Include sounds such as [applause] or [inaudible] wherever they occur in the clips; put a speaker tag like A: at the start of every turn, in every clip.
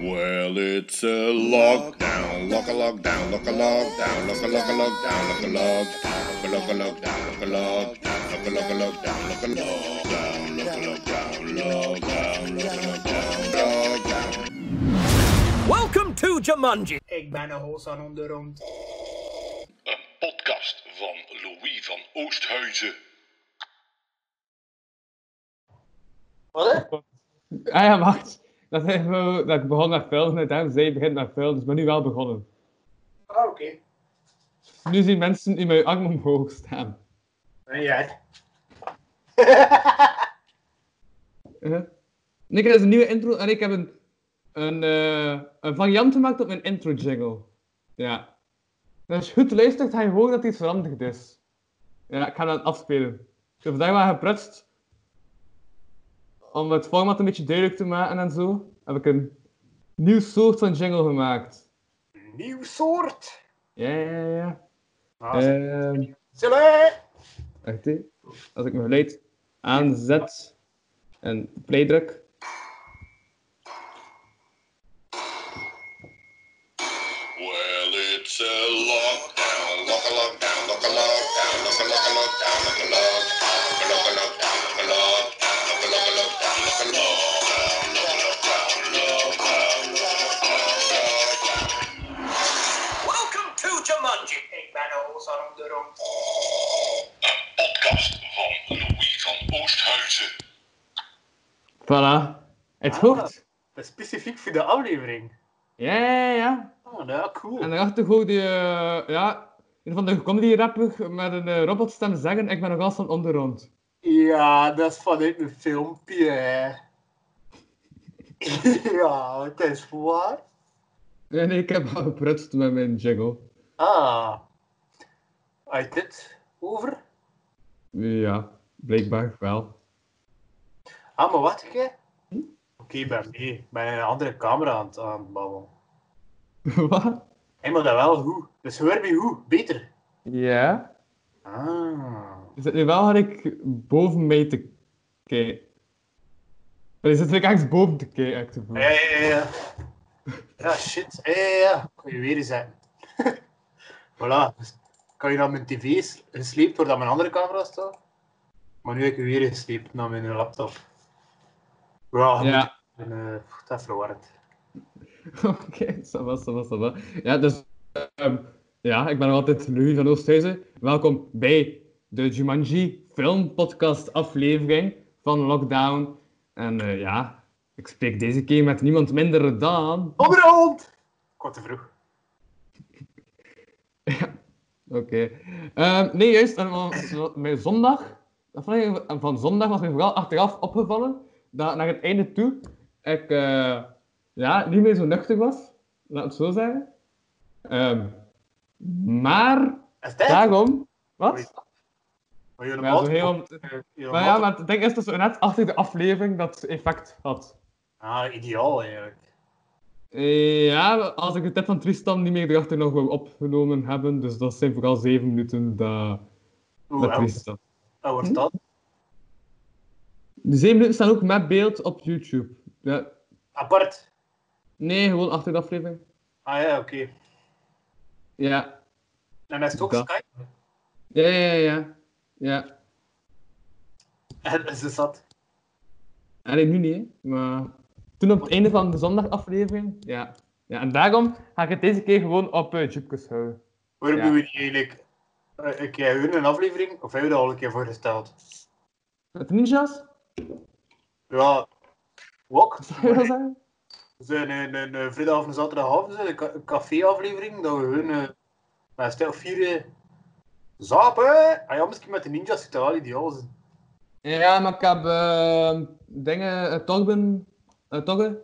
A: Well, it's a lockdown, lock a lockdown, lock a lockdown, lock a lock a lockdown, lock a lockdown, lock a lockdown, lock a lockdown, lock a lockdown, lock a lockdown, lock a lockdown, lockdown, lock a lockdown, lockdown.
B: Welcome to Jumanji.
C: Ik ben een hoofdsalon de rond.
A: Een podcast van Louis van Oosthuizen.
D: [laughs] Ah ja, wacht. Dat, hebben we- dat ik begon met films en uiteindelijk zei je begint met films, maar dus nu wel begonnen.
C: Ah, oké.
D: Nu zien mensen in mijn arm omhoog staan.
C: Ja.
D: [laughs] Eh? Nick, dat is een nieuwe intro en ik heb een, een, eh, een variant gemaakt op mijn intro jingle. Ja. En als je goed luistert, ga je horen dat iets veranderd is. Ja, ik ga dat afspelen. Ik heb vandaag wel geprutst om het format een beetje duidelijk te maken en zo. Heb ik een nieuw soort van jingle gemaakt.
C: Nieuw soort.
D: Ja, ja, ja.
C: Ah,
D: Ehm,
C: Zullen
D: Wacht, hè. als ik mijn geluid aanzet en play druk.
A: Well, it's a lockdown, lock a lockdown, lock a lockdown, lock a lock a lockdown, lock a lockdown, lock a lock a lockdown, lock a lockdown, lock a lock a lockdown, lock a lockdown, lock a lockdown, lockdown, lockdown, lockdown.
B: Welcome to Jumanji.
C: Ik ben een hoofdsalon de rond.
A: Een podcast van Louis van Oosthuizen.
D: Voilà.
C: Ah.
D: Het hoort.
C: Dat is specifiek voor de aflevering.
D: Ja, ja, ja.
C: Oh, nou, cool.
D: En daarachter hoorde die, eh, ja, een van de comedy rapper met een eh, robotstem zeggen: Ik ben nog wel van onderrond.
C: Ja, dat is vanuit mijn filmpje, hè. [laughs] ja, het is waar.
D: Nee, nee, ik heb [laughs] al geprutst met mijn jingle.
C: Ah. Uit dit over?
D: Ja, blijkbaar wel.
C: Ah, maar wat, hè? Oké, ik ben mee. Ik ben een andere camera aan het, aan het babbelen.
D: [laughs] Wat?
C: Hé, maar dat wel hoe. Dus hoor wie hoe. Beter.
D: Ja.
C: Ah.
D: Je zit nu wel had ik boven mij te kijken. Maar je zit eigenlijk echt boven te kijken. heb ik het gevoel.
C: Ja, ja, ja, ja. Ja, shit. Ja, ja, ja. Kan je weer eens zetten. [laughs] voilà. Dus kan je naar mijn tv s- gesleept worden aan mijn andere camera staat? Maar nu heb ik je weer gesleept naar mijn laptop. Ja,
D: Ja. [laughs]
C: ja. En, eh, pff, dat is verwarrend.
D: Oké, ça va, ça va, ça va. Ja, dus ehm, ja, ik ben nog altijd Louis van Oosthuizen. Welkom bij de Jumanji Film Podcast aflevering van Lockdown. En eh, ja, ik spreek deze keer met niemand minder dan.
C: Onderhand! Ik was te vroeg.
D: Oké. Ehm, nee, juist, en van- mijn zondag, dat vond ik- van zondag was mij vooral achteraf opgevallen dat naar het einde toe ik eh, ja, niet meer zo nuchter was, laat het zo zeggen. Ehm, maar
C: Is dat?
D: daarom,
C: Oei.
D: wat?
C: Maar je
D: Ja, zo heel, maar ja,
C: ja,
D: maar het ding is dat zo net achter de aflevering dat effect had.
C: Ah, ideaal eigenlijk.
D: Eh, Ja, als ik de tijd van Tristan niet meer erachter nog wil opgenomen hebben, dus dat zijn vooral zeven minuten dat,
C: Hoe
D: dat
C: oud
D: Tristan.
C: oud wordt dat?
D: De zeven minuten staan ook met beeld op YouTube. Ja.
C: Apart.
D: Nee, gewoon achter de aflevering.
C: Ah ja, oké.
D: Ja.
C: En dat is ook
D: Dat.
C: Skype.
D: Ja, ja, ja, ja. Ja.
C: [laughs] En ze zat.
D: Allee, nu niet, hè. Maar toen op het einde van de zondagaflevering. Ja. ja. En daarom ga ik het deze keer gewoon op eh Jupkes houden.
C: Waarom
D: Ja.
C: doen we niet eigenlijk eh, een keer hun een aflevering? Of hebben we dat al een keer voorgesteld?
D: Met de ninjas? [laughs]
C: Ja, ook.
D: Zou je dat zeggen?
C: Een, een, een, een vrijdag of een zaterdagavond, zo, een, ca- een café-aflevering, dat we hun eh met stel vieren zapen. Ah ja, misschien met de ninjas zit dat wel ideaal. zijn.
D: Ja, maar ik heb eh, dingen, eh, Torben, eh, Torre,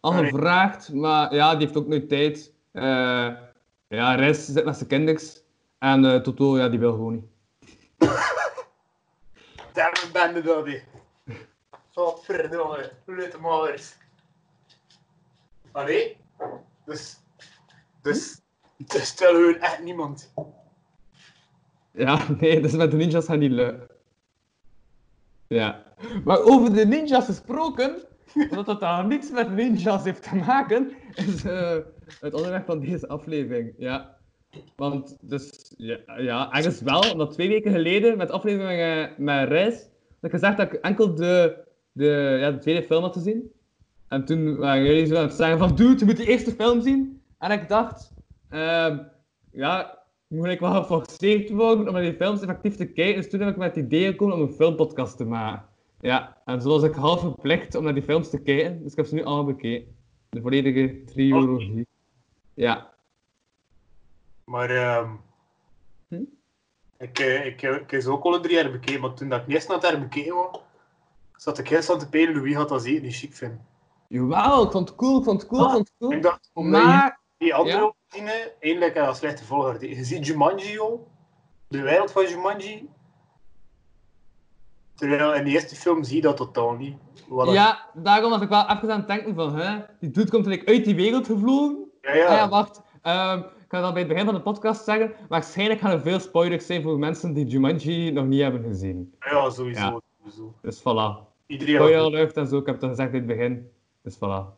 D: al
C: Allee.
D: gevraagd, maar ja, die heeft ook nooit tijd. Eh, ja, Res zit met zijn kinders. En eh, Toto, ja, die wil gewoon niet.
C: Daarom ben je dat, hé. Wat verdomme, lutte mallers. Allee, dus, dus, dus stel hun echt niemand.
D: Ja, [laughs] nee, dus met de ninjas gaan niet lukken. Ja. Maar over de ninjas gesproken, Omdat dat daar niets met ninjas heeft te maken, is eh, het onderwerp van deze aflevering. Ja. Want, dus, ja, ja, ergens wel, omdat twee weken geleden met aflevering eh, met Reis, had ik gezegd dat ik enkel de, de, ja, de tweede film had gezien. En toen waren jullie zo aan het zeggen van, dude, je moet de eerste film zien. En ik dacht, ehm, ja, moet ik wel geforceerd worden om naar die films effectief te kijken. Dus toen heb ik met het idee gekomen om een filmpodcast te maken. Ja, en zo was ik half verplicht om naar die films te kijken. Dus ik heb ze nu allemaal bekeken. De volledige trilogie. Ja.
C: Maar ehm,
D: Hm?
C: ik, eh, ik, ik is ook al een drie jaar bekeken, maar toen dat ik eerst naar daar bekeken was, zat ik eerst aan te peilen, Louis had dat zeker niet chic vinden.
D: Jawel, ik vond het cool, ik vond het cool, ik vond het cool.
C: Ah, Ik dacht, omdat je
D: maar,
C: die andere
D: ja.
C: ja. dienen, eindelijk een slechte volgorde. Je ziet Jumanji, joh. De wereld van Jumanji. Terwijl in de eerste film zie je dat totaal niet. Wat dat-
D: ja, daarom was ik wel even aan het denken van, hè, die dude komt eigenlijk uit die wereld gevlogen.
C: ja, ja.
D: Ah ja, wacht. Ehm, ik ga dat bij het begin van de podcast zeggen. Waarschijnlijk gaan er veel spoilers zijn voor mensen die Jumanji nog niet hebben gezien.
C: Ja, sowieso.
D: Ja.
C: sowieso.
D: Dus voilà.
C: Iedereen had-
D: Spoiler alert en zo, ik heb dat gezegd in het begin. Dus voilà.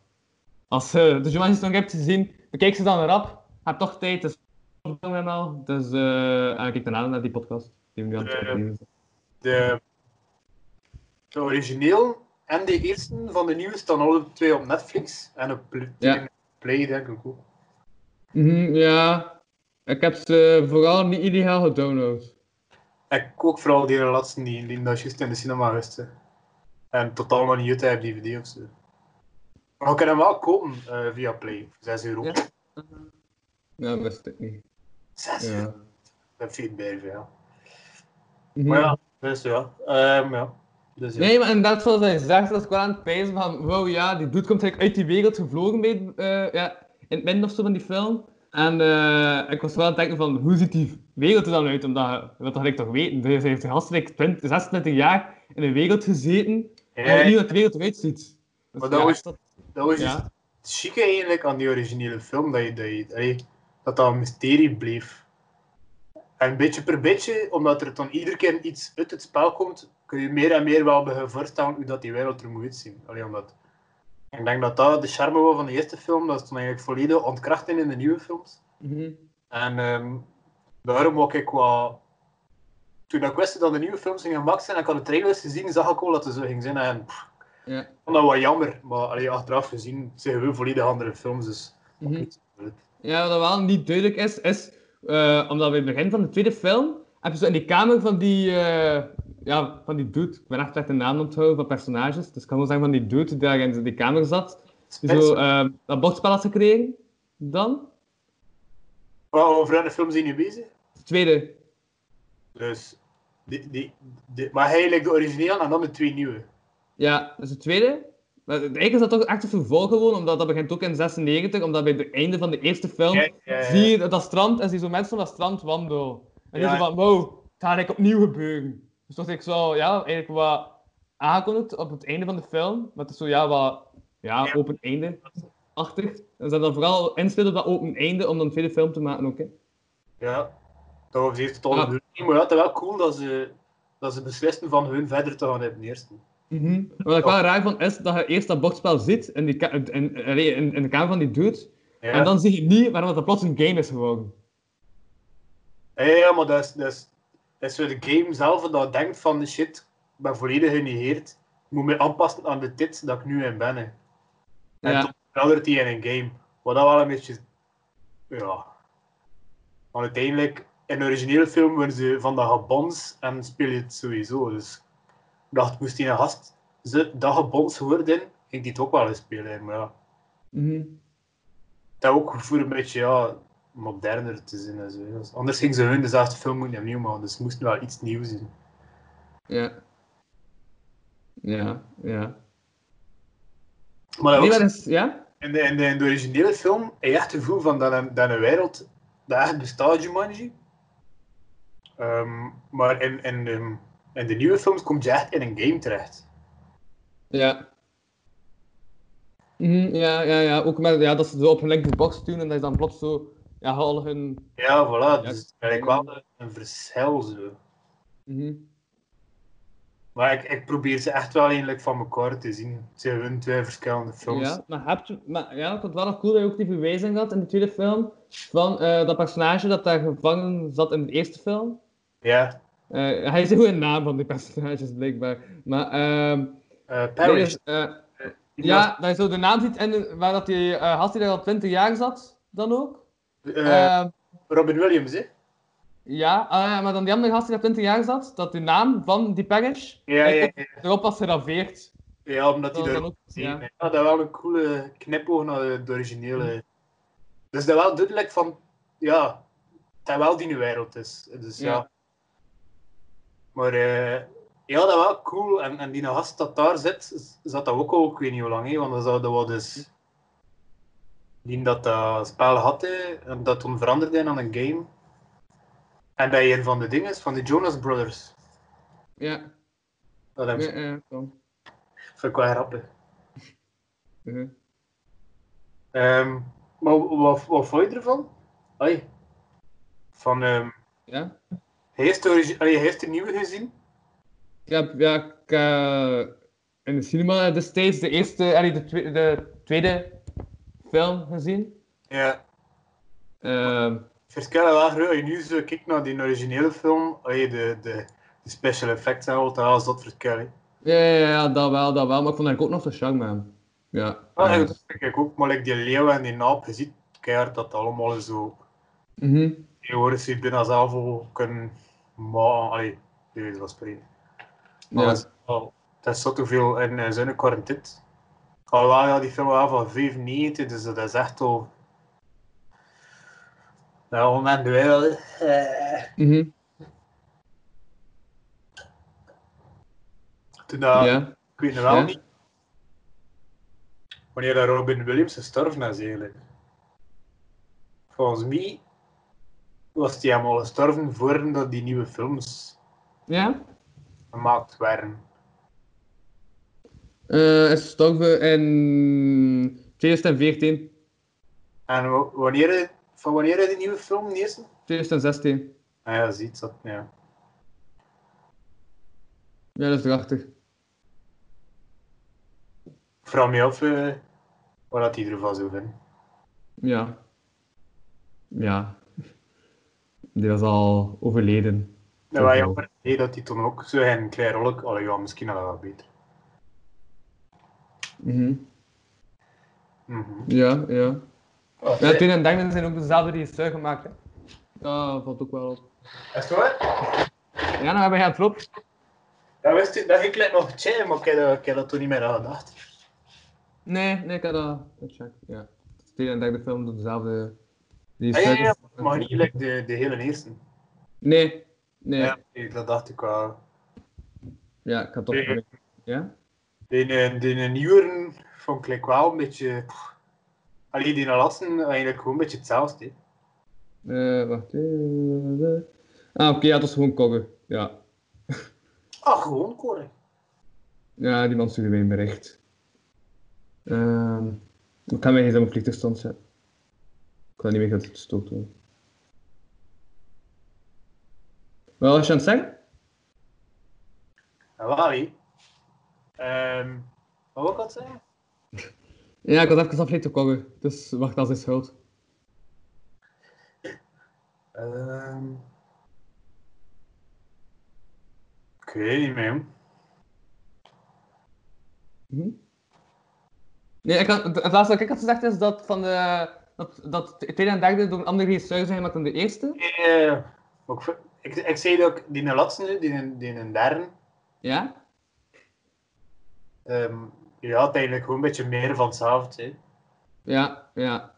D: Als je de Jumanji's nog hebt gezien, bekijk ze dan rap. Je hebt toch tijd, het is lang en al. Dus eh, en kijk daarna naar die podcast. Die we nu aan het
C: Eh,
D: opnemen zijn.
C: de, de origineel en de eerste van de nieuwe staan alle twee op Netflix. En op Pl-
D: Ja.
C: Play, denk ik ook.
D: Mhm, ja, ik heb ze vooral niet ideaal gedownload.
C: Ik ook vooral die laatste die, die dat juist in de cinema wisten. En totaal nog niet uit heb die video of zo. Maar we kunnen hem wel kopen eh, via Play. voor 6 euro.
D: Ja. Ja, dat wist ik niet.
C: 6
D: Ja.
C: euro. Dat vind ik bij veel.
D: Mhm.
C: Maar ja, dus ja. Ehm, ja. Dus ja.
D: Nee, maar inderdaad, zoals hij zegt, was ik wel aan het pijzen van, wow, ja, die dude komt eigenlijk uit die wereld gevlogen bij, eh, ja, in het midden of zo van die film. En eh, ik was wel aan het denken van, hoe ziet die wereld er dan uit? Omdat, je- dat wil ik toch weten, dus hij heeft gastelijk 20, 26 jaar in een wereld gezeten, en
C: Ja,
D: weet niet hoe dat de wereld eruit ziet. Dus
C: Maar dat
D: ja,
C: was-
D: dat-
C: Dat was
D: Ja.
C: juist Nou het chique eigenlijk aan die originele film, dat je, dat, je, allee, dat dat een mysterie bleef. En beetje per beetje, omdat er dan iedere keer iets uit het spel komt, kun je meer en meer wel beginnen voorstellen hoe dat die wereld er moet uitzien. Allee, omdat, ik denk dat dat de charme was van de eerste film, dat is dan eigenlijk volledig ontkracht in de nieuwe films.
D: Mhm.
C: En ehm, daarom ook ik qua... Toen ik wist dat de nieuwe films gingen gemaakt zijn en ik had de trailers gezien, zag ik al dat ze zo ging zijn en... pff,
D: ja.
C: vond dat wel jammer, maar allee, achteraf gezien zijn we volledig andere films, dus
D: Mhm.
C: ook niet zo leuk.
D: Ja, wat wel niet duidelijk is, is eh, omdat we in het begin van de tweede film heb je zo in die kamer van die, eh, ja, van die dude, ik ben echt echt de naam onthouden van personages, dus ik kan wel zeggen van die dude die daar in die kamer zat, die zo
C: Spencer.
D: eh, dat bordspel had gekregen, dan,
C: Waar over welke film zijn jullie bezig?
D: de tweede,
C: Dus, die, die, die- maar eigenlijk de origineel en dan de twee nieuwe.
D: ja, dat is de tweede. Maar Eigenlijk is dat toch echt een vervolg gewoon, omdat dat begint ook in 96, omdat bij het einde van de eerste film
C: Ja, ja, ja.
D: zie je dat, dat strand en zie je zo mensen op dat strand wandelen. En
C: Ja.
D: die zo van, wow, het gaat eigenlijk opnieuw gebeuren. Dus dat ik zo, ja, eigenlijk wat aangekondigd op het einde van de film. Maar het is zo, ja, wat ja,
C: Ja.
D: open einde-achtig. En ze hebben dan vooral inspelen op dat open einde om dan een tweede film te maken ook, hè.
C: Ja, dat heeft het al
D: Ja.
C: bedoeld. Maar ja, het is wel cool dat ze, dat ze beslisten van hun verder te gaan in de eerste. Mhm.
D: Wat ik wel raar van is, dat je eerst dat bordspel ziet in, die ka- in, in, in- in de kamer van die dude.
C: Ja,
D: En dan zie je niet waarom dat plots een game is geworden.
C: ja, ja, maar dat is, dat, is, dat is weer de game zelf dat denkt van, shit, ik ben volledig genegeerd. Ik moet me aanpassen aan de tit dat ik nu in ben. hè. En
D: Ja.
C: toen verandert hij in een game. Wat dat wel een beetje. Ja. Want uiteindelijk, in de originele film worden ze van dat gebons en speel je het sowieso. Dus ik dacht, moest hij een gast ze, dat gebons worden, ging hij het ook wel eens spelen. Maar ja,
D: Mhm.
C: dat ook voor een beetje ja, moderner te zijn. En zo. Dus anders ging ze hun dezelfde film moeten opnieuw maken, dus het moest wel iets nieuws zijn.
D: Ja. Ja, ja.
C: Maar
D: Nee,
C: dat ook
D: maar dat is, ja?
C: in, de, in, de, in de originele film heb je echt het gevoel van dat een, dat een wereld dat echt bestaat, Jumanji. Ehm, maar in, in, de- in de nieuwe films kom je echt in een game terecht.
D: Ja. Mhm, ja, ja, ja. Ook met, ja, dat ze zo op hun linkerbox doen en dat is dan plots zo, ja, al hun...
C: Ja, voilà.
D: Ja.
C: Dus het is eigenlijk wel een- een verschil zo.
D: Mhm.
C: Maar ik, ik probeer ze echt wel eigenlijk van elkaar te zien. Het zijn hun twee verschillende films.
D: Ja, maar, heb je, maar ja, ik vond het wel nog cool dat je ook die verwijzing had in de tweede film. Van eh, dat personage dat daar gevangen zat in de eerste film.
C: Ja.
D: Eh, hij is heel een naam van die personages, blijkbaar. Maar, ehm,
C: Eh
D: nee,
C: Paris.
D: dus, eh, ja, dat je zo de naam ziet en de- waar dat die eh had die daar al 20 jaar zat, dan ook.
C: Eh,
D: Ehm,
C: Robin Williams, hè?
D: ja, eh, maar dan die andere gast die daar 20 jaar zat, dat de naam van die parish
C: Ja,
D: eh,
C: ja,
D: op- erop was geraveerd.
C: Ja, omdat
D: Oh, Dat
C: hij
D: was
C: daar
D: dan ook,
C: Ja.
D: ja.
C: dat is wel een coole knipoog naar het originele. Dus dat wel duidelijk van, ja, dat wel die nieuwe wereld is. Dus ja.
D: Ja.
C: Maar eh, ja, dat wel cool. En, en die gast dat daar zit, zat dat ook al, ik weet niet hoe lang, hè, want dat zou dat wel dus... Die dat dat spel had, hè, en dat toen veranderde aan een game. En dat je een van de dingen is, van de Jonas Brothers.
D: Ja,
C: Dat heb
D: ja,
C: ik
D: ja, kom.
C: vind ik wel grappig.
D: Eh.
C: Ehm, maar w- wat, wat vond je ervan? Hoi. Van, ehm
D: Ja?
C: hij heeft de origi- allee, hij heeft de nieuwe gezien.
D: Ja, ja ik, eh, in de cinema destijds de eerste, eh, allee, de, twe- de tweede film gezien.
C: Ja.
D: Ehm,
C: Verschillen wel groot. Als je nu zo kijkt naar die originele film, allee, de, de, de special effects en wat, dat is dat verschil.
D: ja, ja, ja, dat wel, dat wel, maar ik vond eigenlijk ook nog de charme aan. Ja.
C: Ah, Ja,
D: eh,
C: dat vind ik ook, maar like die leeuwen en die naap, je ziet keihard dat dat allemaal is zo
D: mhm.
C: tegenwoordig zou je bijna zelf al kunnen maken. Allee, je weet wat spreken. Maar
D: ja.
C: dat, is, wel- Oh, dat is zo te veel in eh, zijn kwartet. Alhoewel, ja, die film was van 95, dus dat is echt al... Nou, moment wel. eh,
D: mhm,
C: Toen dat,
D: ja.
C: ik weet het wel
D: Ja.
C: niet. Wanneer dat Robin Williams gestorven is eigenlijk. Volgens mij was hij helemaal gestorven voordat die nieuwe films
D: Ja?
C: gemaakt werden.
D: Eh, is gestorven in 2014,
C: En wa- wanneer, van wanneer is die nieuwe film niet is?
D: 2016.
C: Ah ja, ziet dat, ja.
D: Ja, dat is prachtig.
C: Ik vraag me af eh, wat dat die ervan zou vinden.
D: Ja. Ja. Die was al overleden.
C: Dat was
D: Toch wel.
C: jammer nee, dat hij toen ook zo een klein rolletje... Allee, ja, misschien had dat wel beter.
D: Mhm.
C: Mhm.
D: Ja, ja.
C: Oh,
D: Ja,
C: nee.
D: Toen en Denken zijn ook dezelfde regisseur gemaakt. Hè. Dat valt ook wel op.
C: Is het waar?
D: Ja, nou hebben we het erop.
C: Dat wist ik, dat ging ik nog checken, maar ik heb, dat- ik heb dat toen niet meer aan gedacht.
D: Nee, nee, ik had dat gecheckt. Ja. Toen en Denken de film door dezelfde
C: Ah, ja,
D: regisseur.
C: ja, ja, maar niet gelijk de, de hele eerste.
D: Nee, nee.
C: Ja,
D: Ja,
C: nee, dat dacht ik wel.
D: ik had toch.
C: Nee.
D: Ja?
C: Die, eh, die nieuwe vond ik like wel een beetje... pff. Allee, die lasten eigenlijk gewoon een beetje hetzelfde. hè.
D: Eh, wacht. even. Ah, oké, ja, dat is gewoon koggen. Ja.
C: Ah, gewoon koren.
D: Ja, die man stuurde mij een bericht. Ehm, ik kan mij geen op vliegtuigstand zetten. Ik kan niet meer dat het stoot doen. Wel, als je aan het zeggen?
C: Ja, Ah, wel, hè. Ehm, wat wil ik dat zeggen?
D: Ja, ik had even afgeleid koken, dus wacht, dat is schuld.
C: Ehm. Ik weet niet meer.
D: Nee, ik had, het laatste wat ik had gezegd is dat van de, dat, dat de tweede en derde door een andere regisseur zijn gemaakt dan de eerste.
C: Eh, maar ik, vind- ik, ik zei ook, die laatste nu, die, die een derde,
D: Ja?
C: ehm je had eigenlijk gewoon een beetje meer van hetzelfde. hè.
D: Ja, ja.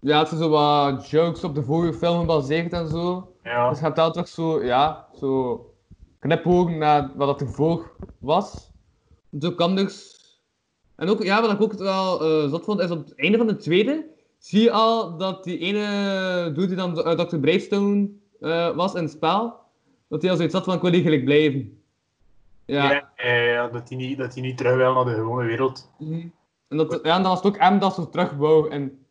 D: Ja, het zijn zo wat jokes op de vorige film gebaseerd en zo.
C: Ja.
D: Dus je hebt daar toch zo, ja, zo knipogen naar wat dat ervoor was. Dus ook anders. En ook, ja, wat ik ook wel eh, zot vond, is op het einde van de tweede zie je al dat die ene dude die dan eh, Dr. Bravestone eh, was in het spel, dat hij al zoiets had van, ik wil hier gelijk blijven. Ja.
C: Ja, eh, ja, dat, die niet, dat die niet terug wil naar de gewone wereld.
D: Mhm. En, dat, ja, en dan was het ook M dat ze terug wou. En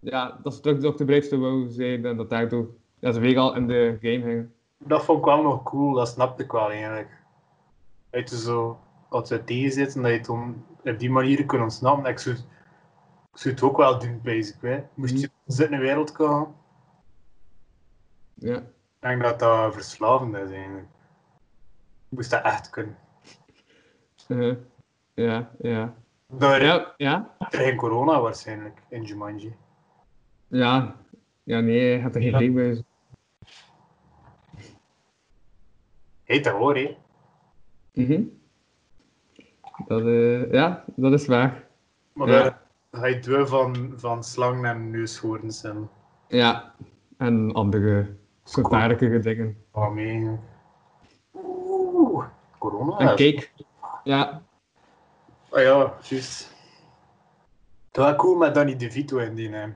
D: ja, dat ze terug Dr. Bravestone wou zijn en dat daardoor ja, ze weer al in de game hingen.
C: dat vond ik wel nog cool, dat snapte ik wel eigenlijk. Dat je zo, als we tegen zitten, dat je toen op die manier kunt ontsnappen. Ik zou, ik zou het ook wel doen, basic. Hè. Moest je zitten in de wereld komen.
D: Ja.
C: Ik denk dat dat verslavend is eigenlijk. Je moest dat echt kunnen.
D: eh, ja, ja.
C: Door
D: Ja, ja.
C: geen corona waarschijnlijk in Jumanji.
D: Ja. Ja, nee, je hebt er geen rekening bij.
C: Heet dat hoor, hè?
D: Mhm. Dat, eh, ja, dat is waar.
C: Maar
D: Ja.
C: daar ga je dwee van, van slang naar neushoorns en
D: Ja. En andere gevaarlijkere dingen.
C: waarmee. Oeh, corona.
D: En cake. Ja.
C: Ah ja, juist. Het was wel cool met Danny DeVito in die naam.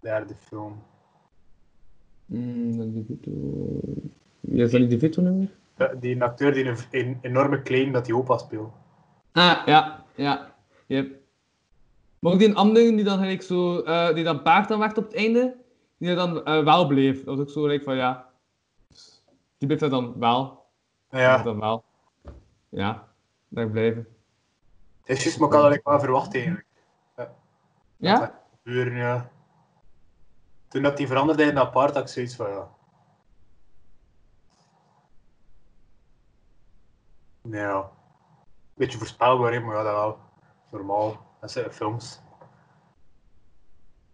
C: Derde film.
D: Mm, dat die Vito. Ja, is dat niet de Vito nummer?
C: Eh, Die een acteur die een, een enorme claim dat hij opa speelt.
D: Ah, ja, ja. Yep. Maar ook die andere die dan gelijk zo, eh, die dan paard dan werd op het einde, die dan eh, wel bleef. Dat was ook zo gelijk van ja. Dus, Die bleef daar dan wel. Die bleef
C: Ja,
D: Dan wel. Ja, daar blijven.
C: het is juist, maar ik had dat eigenlijk wel verwacht eigenlijk.
D: Ja?
C: Dat gebeuren, ja. Toen dat die veranderde in apart, had ik zoiets van ja. Ja. Beetje voorspelbaar, hè, maar ja, dat wel. Normaal. Dat zijn films.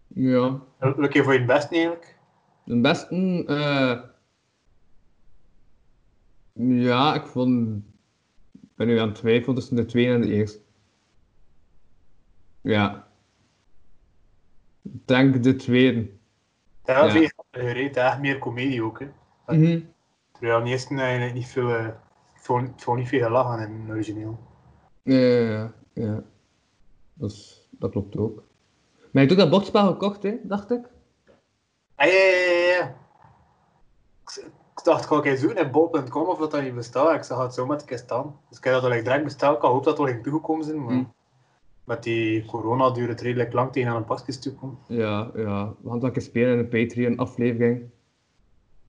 D: Ja.
C: Lukt je voor je best niet eigenlijk?
D: De beste. eh, ja, ik vond. Ik ben nu aan het twijfelen tussen de tweede en de eerste. Ja. Ik denk de tweede.
C: Ja,
D: Ja.
C: veel grappiger, hè. Het is echt meer comedie ook. Hè.
D: Mhm.
C: Terwijl in de eerste eigenlijk niet veel... eh, ik vond, ik vond niet veel gelachen in het origineel.
D: Ja, ja, ja, ja. Dat, is- dat klopt ook. Maar je hebt ook dat bordspel gekocht, hè, dacht ik.
C: Ah, ja, ja, ja, ja. Ik, z- ik dacht, ga ik eens zoeken in bol.com of dat dat niet bestaat. Ik zag het zo met de kist aan. Dus ik heb dat al direct besteld. Ik had gehoopt dat het al ging toegekomen zijn, maar...
D: Hm.
C: Met die corona duurde het redelijk lang tegen aan een pakjes toe komen.
D: Ja, ja. We gaan dat eens spelen in een Patreon-aflevering.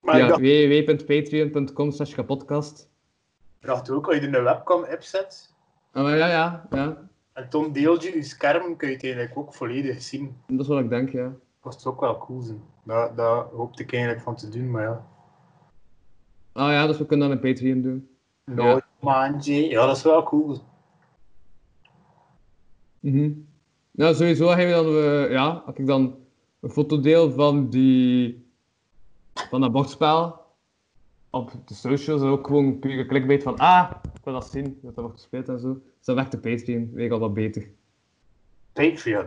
C: Maar ik
D: ja,
C: dacht,
D: www.patreon.com slash kapodcast.
C: ik dacht ook, als je er een webcam-app zet,
D: Ah, maar ja, ja, ja.
C: en toen deelt je je scherm, kun je het eigenlijk ook volledig zien.
D: Dat is wat ik denk, ja.
C: Dat was ook wel cool zijn. Daar, daar hoopte ik eigenlijk van te doen, maar ja.
D: Ah ja, dus we kunnen dat in Patreon doen.
C: Nooit maandje. Ja, dat is wel cool.
D: Mhm. Nou, sowieso hebben we dan, eh, ja, had ik dan een fotodeel van die, van dat bordspel op de socials en ook gewoon pure clickbait van, ah, ik wil dat zien, dat dat wordt gespeeld en zo. Dus dan werkt de Patreon weer al wat beter.
C: Patreon.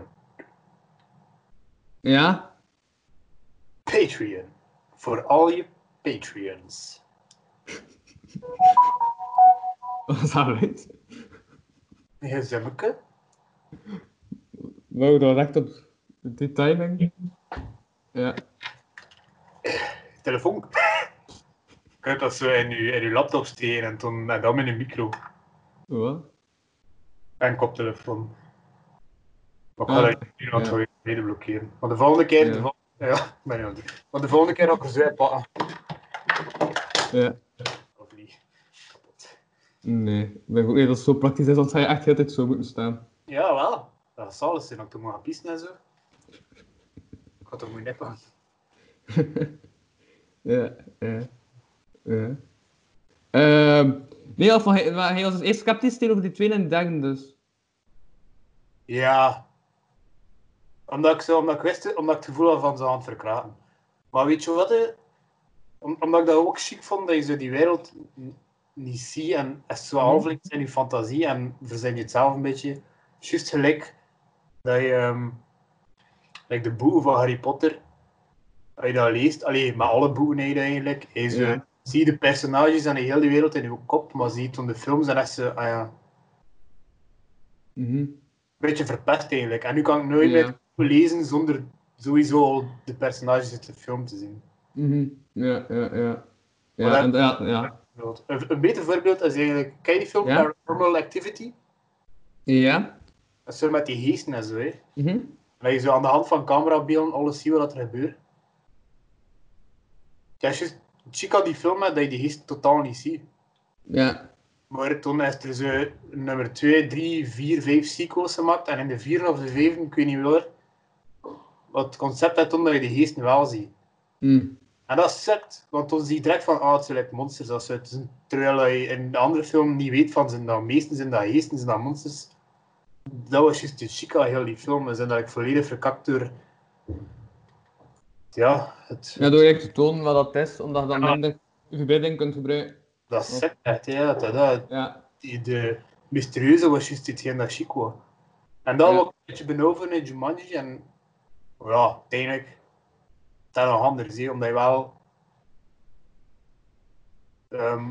D: Ja? [laughs]
C: Patreon. Voor al je Patreons.
D: Wat is dat uit?
C: Gezemmeke.
D: Wow, dat was echt op die timing. Ja.
C: [laughs] Telefoon. Je kunt dat zo in je, in je laptop steken en, toen, en dan met een micro
D: Wat?
C: en koptelefoon. Maar ik
D: Ah,
C: ga dat nu nog
D: ja.
C: voor je reden blokkeren. Maar de volgende keer...
D: Ja.
C: De vol- ja, [laughs] ben je aan het doen. Maar de volgende keer ga ik er zo in pakken.
D: Ja.
C: Of niet. Kapot.
D: Nee, ik denk ook niet dat het zo praktisch is, want zou je echt de hele tijd zo moeten staan.
C: Ja, wel. Dat zal het zijn. Ook toen moet gaan pissen en zo. Ik had toch moeten nippen.
D: Ja, ja. ja. Ehm, nee, of, hij, maar hij was dus eerst sceptisch tegenover die tweede en die derde, dus.
C: Ja. Omdat ik, zo, omdat ik wist, omdat ik het gevoel had van ze aan het verkraten. Maar weet je wat? hè? Om- omdat ik dat ook chic vond, dat je zo die wereld n- niet ziet en het is zo half ligt in je fantasie en verzin je het zelf een beetje. Juist gelijk dat je ehm, like de boeken van Harry Potter, als je dat leest, alleen met alle boeken he, eigenlijk, je zo-
D: Ja.
C: zie je de personages en de hele wereld in je kop, maar zie je toen de films en echt zo, ah ja,
D: Mhm.
C: een beetje verpest eigenlijk. En nu kan ik nooit
D: Ja.
C: meer lezen zonder sowieso al de personages uit de film te zien.
D: Mhm. Ja, ja, ja.
C: Maar dat-
D: Ja, en, ja, ja.
C: Een, een beter voorbeeld is eigenlijk, ken je die film
D: Ja.
C: Paranormal Activity?
D: Ja?
C: Dat is zo met die geesten en zo. Hè.
D: Mhm.
C: Dat je zo aan de hand van camerabeelden alles ziet wat er gebeurt. Ja, juist chica die film had, dat je die gisteren totaal niet ziet.
D: Ja.
C: Maar toen is er zo nummer 2, 3, 4, 5 sequels gemaakt. En in de vierde of de vijfde, ik weet niet waar, wat het concept had toen dat je de geesten wel ziet.
D: Hm.
C: En dat sukt, want dan zie je direct van, ah, het zijn like monsters. Dat soort. Dus Terwijl je in de andere film niet weet van, zijn dat meesten, zijn dat geesten, zijn dat monsters. Dat was juist de chica, heel die film. En zijn dat ik volledig verkakt door... Ja, het,
D: Ja, door je te tonen wat dat is, omdat je dan
C: Ja.
D: minder verbeelding kunt gebruiken.
C: dat sukt echt, ja. Dat, dat,
D: Ja.
C: die- de mysterieuze was juist hetgeen dat chic was. En dat
D: Ja.
C: was ik een beetje benoven in Jumanji. En ja, uiteindelijk is dat nog anders, hè, omdat je wel... ehm,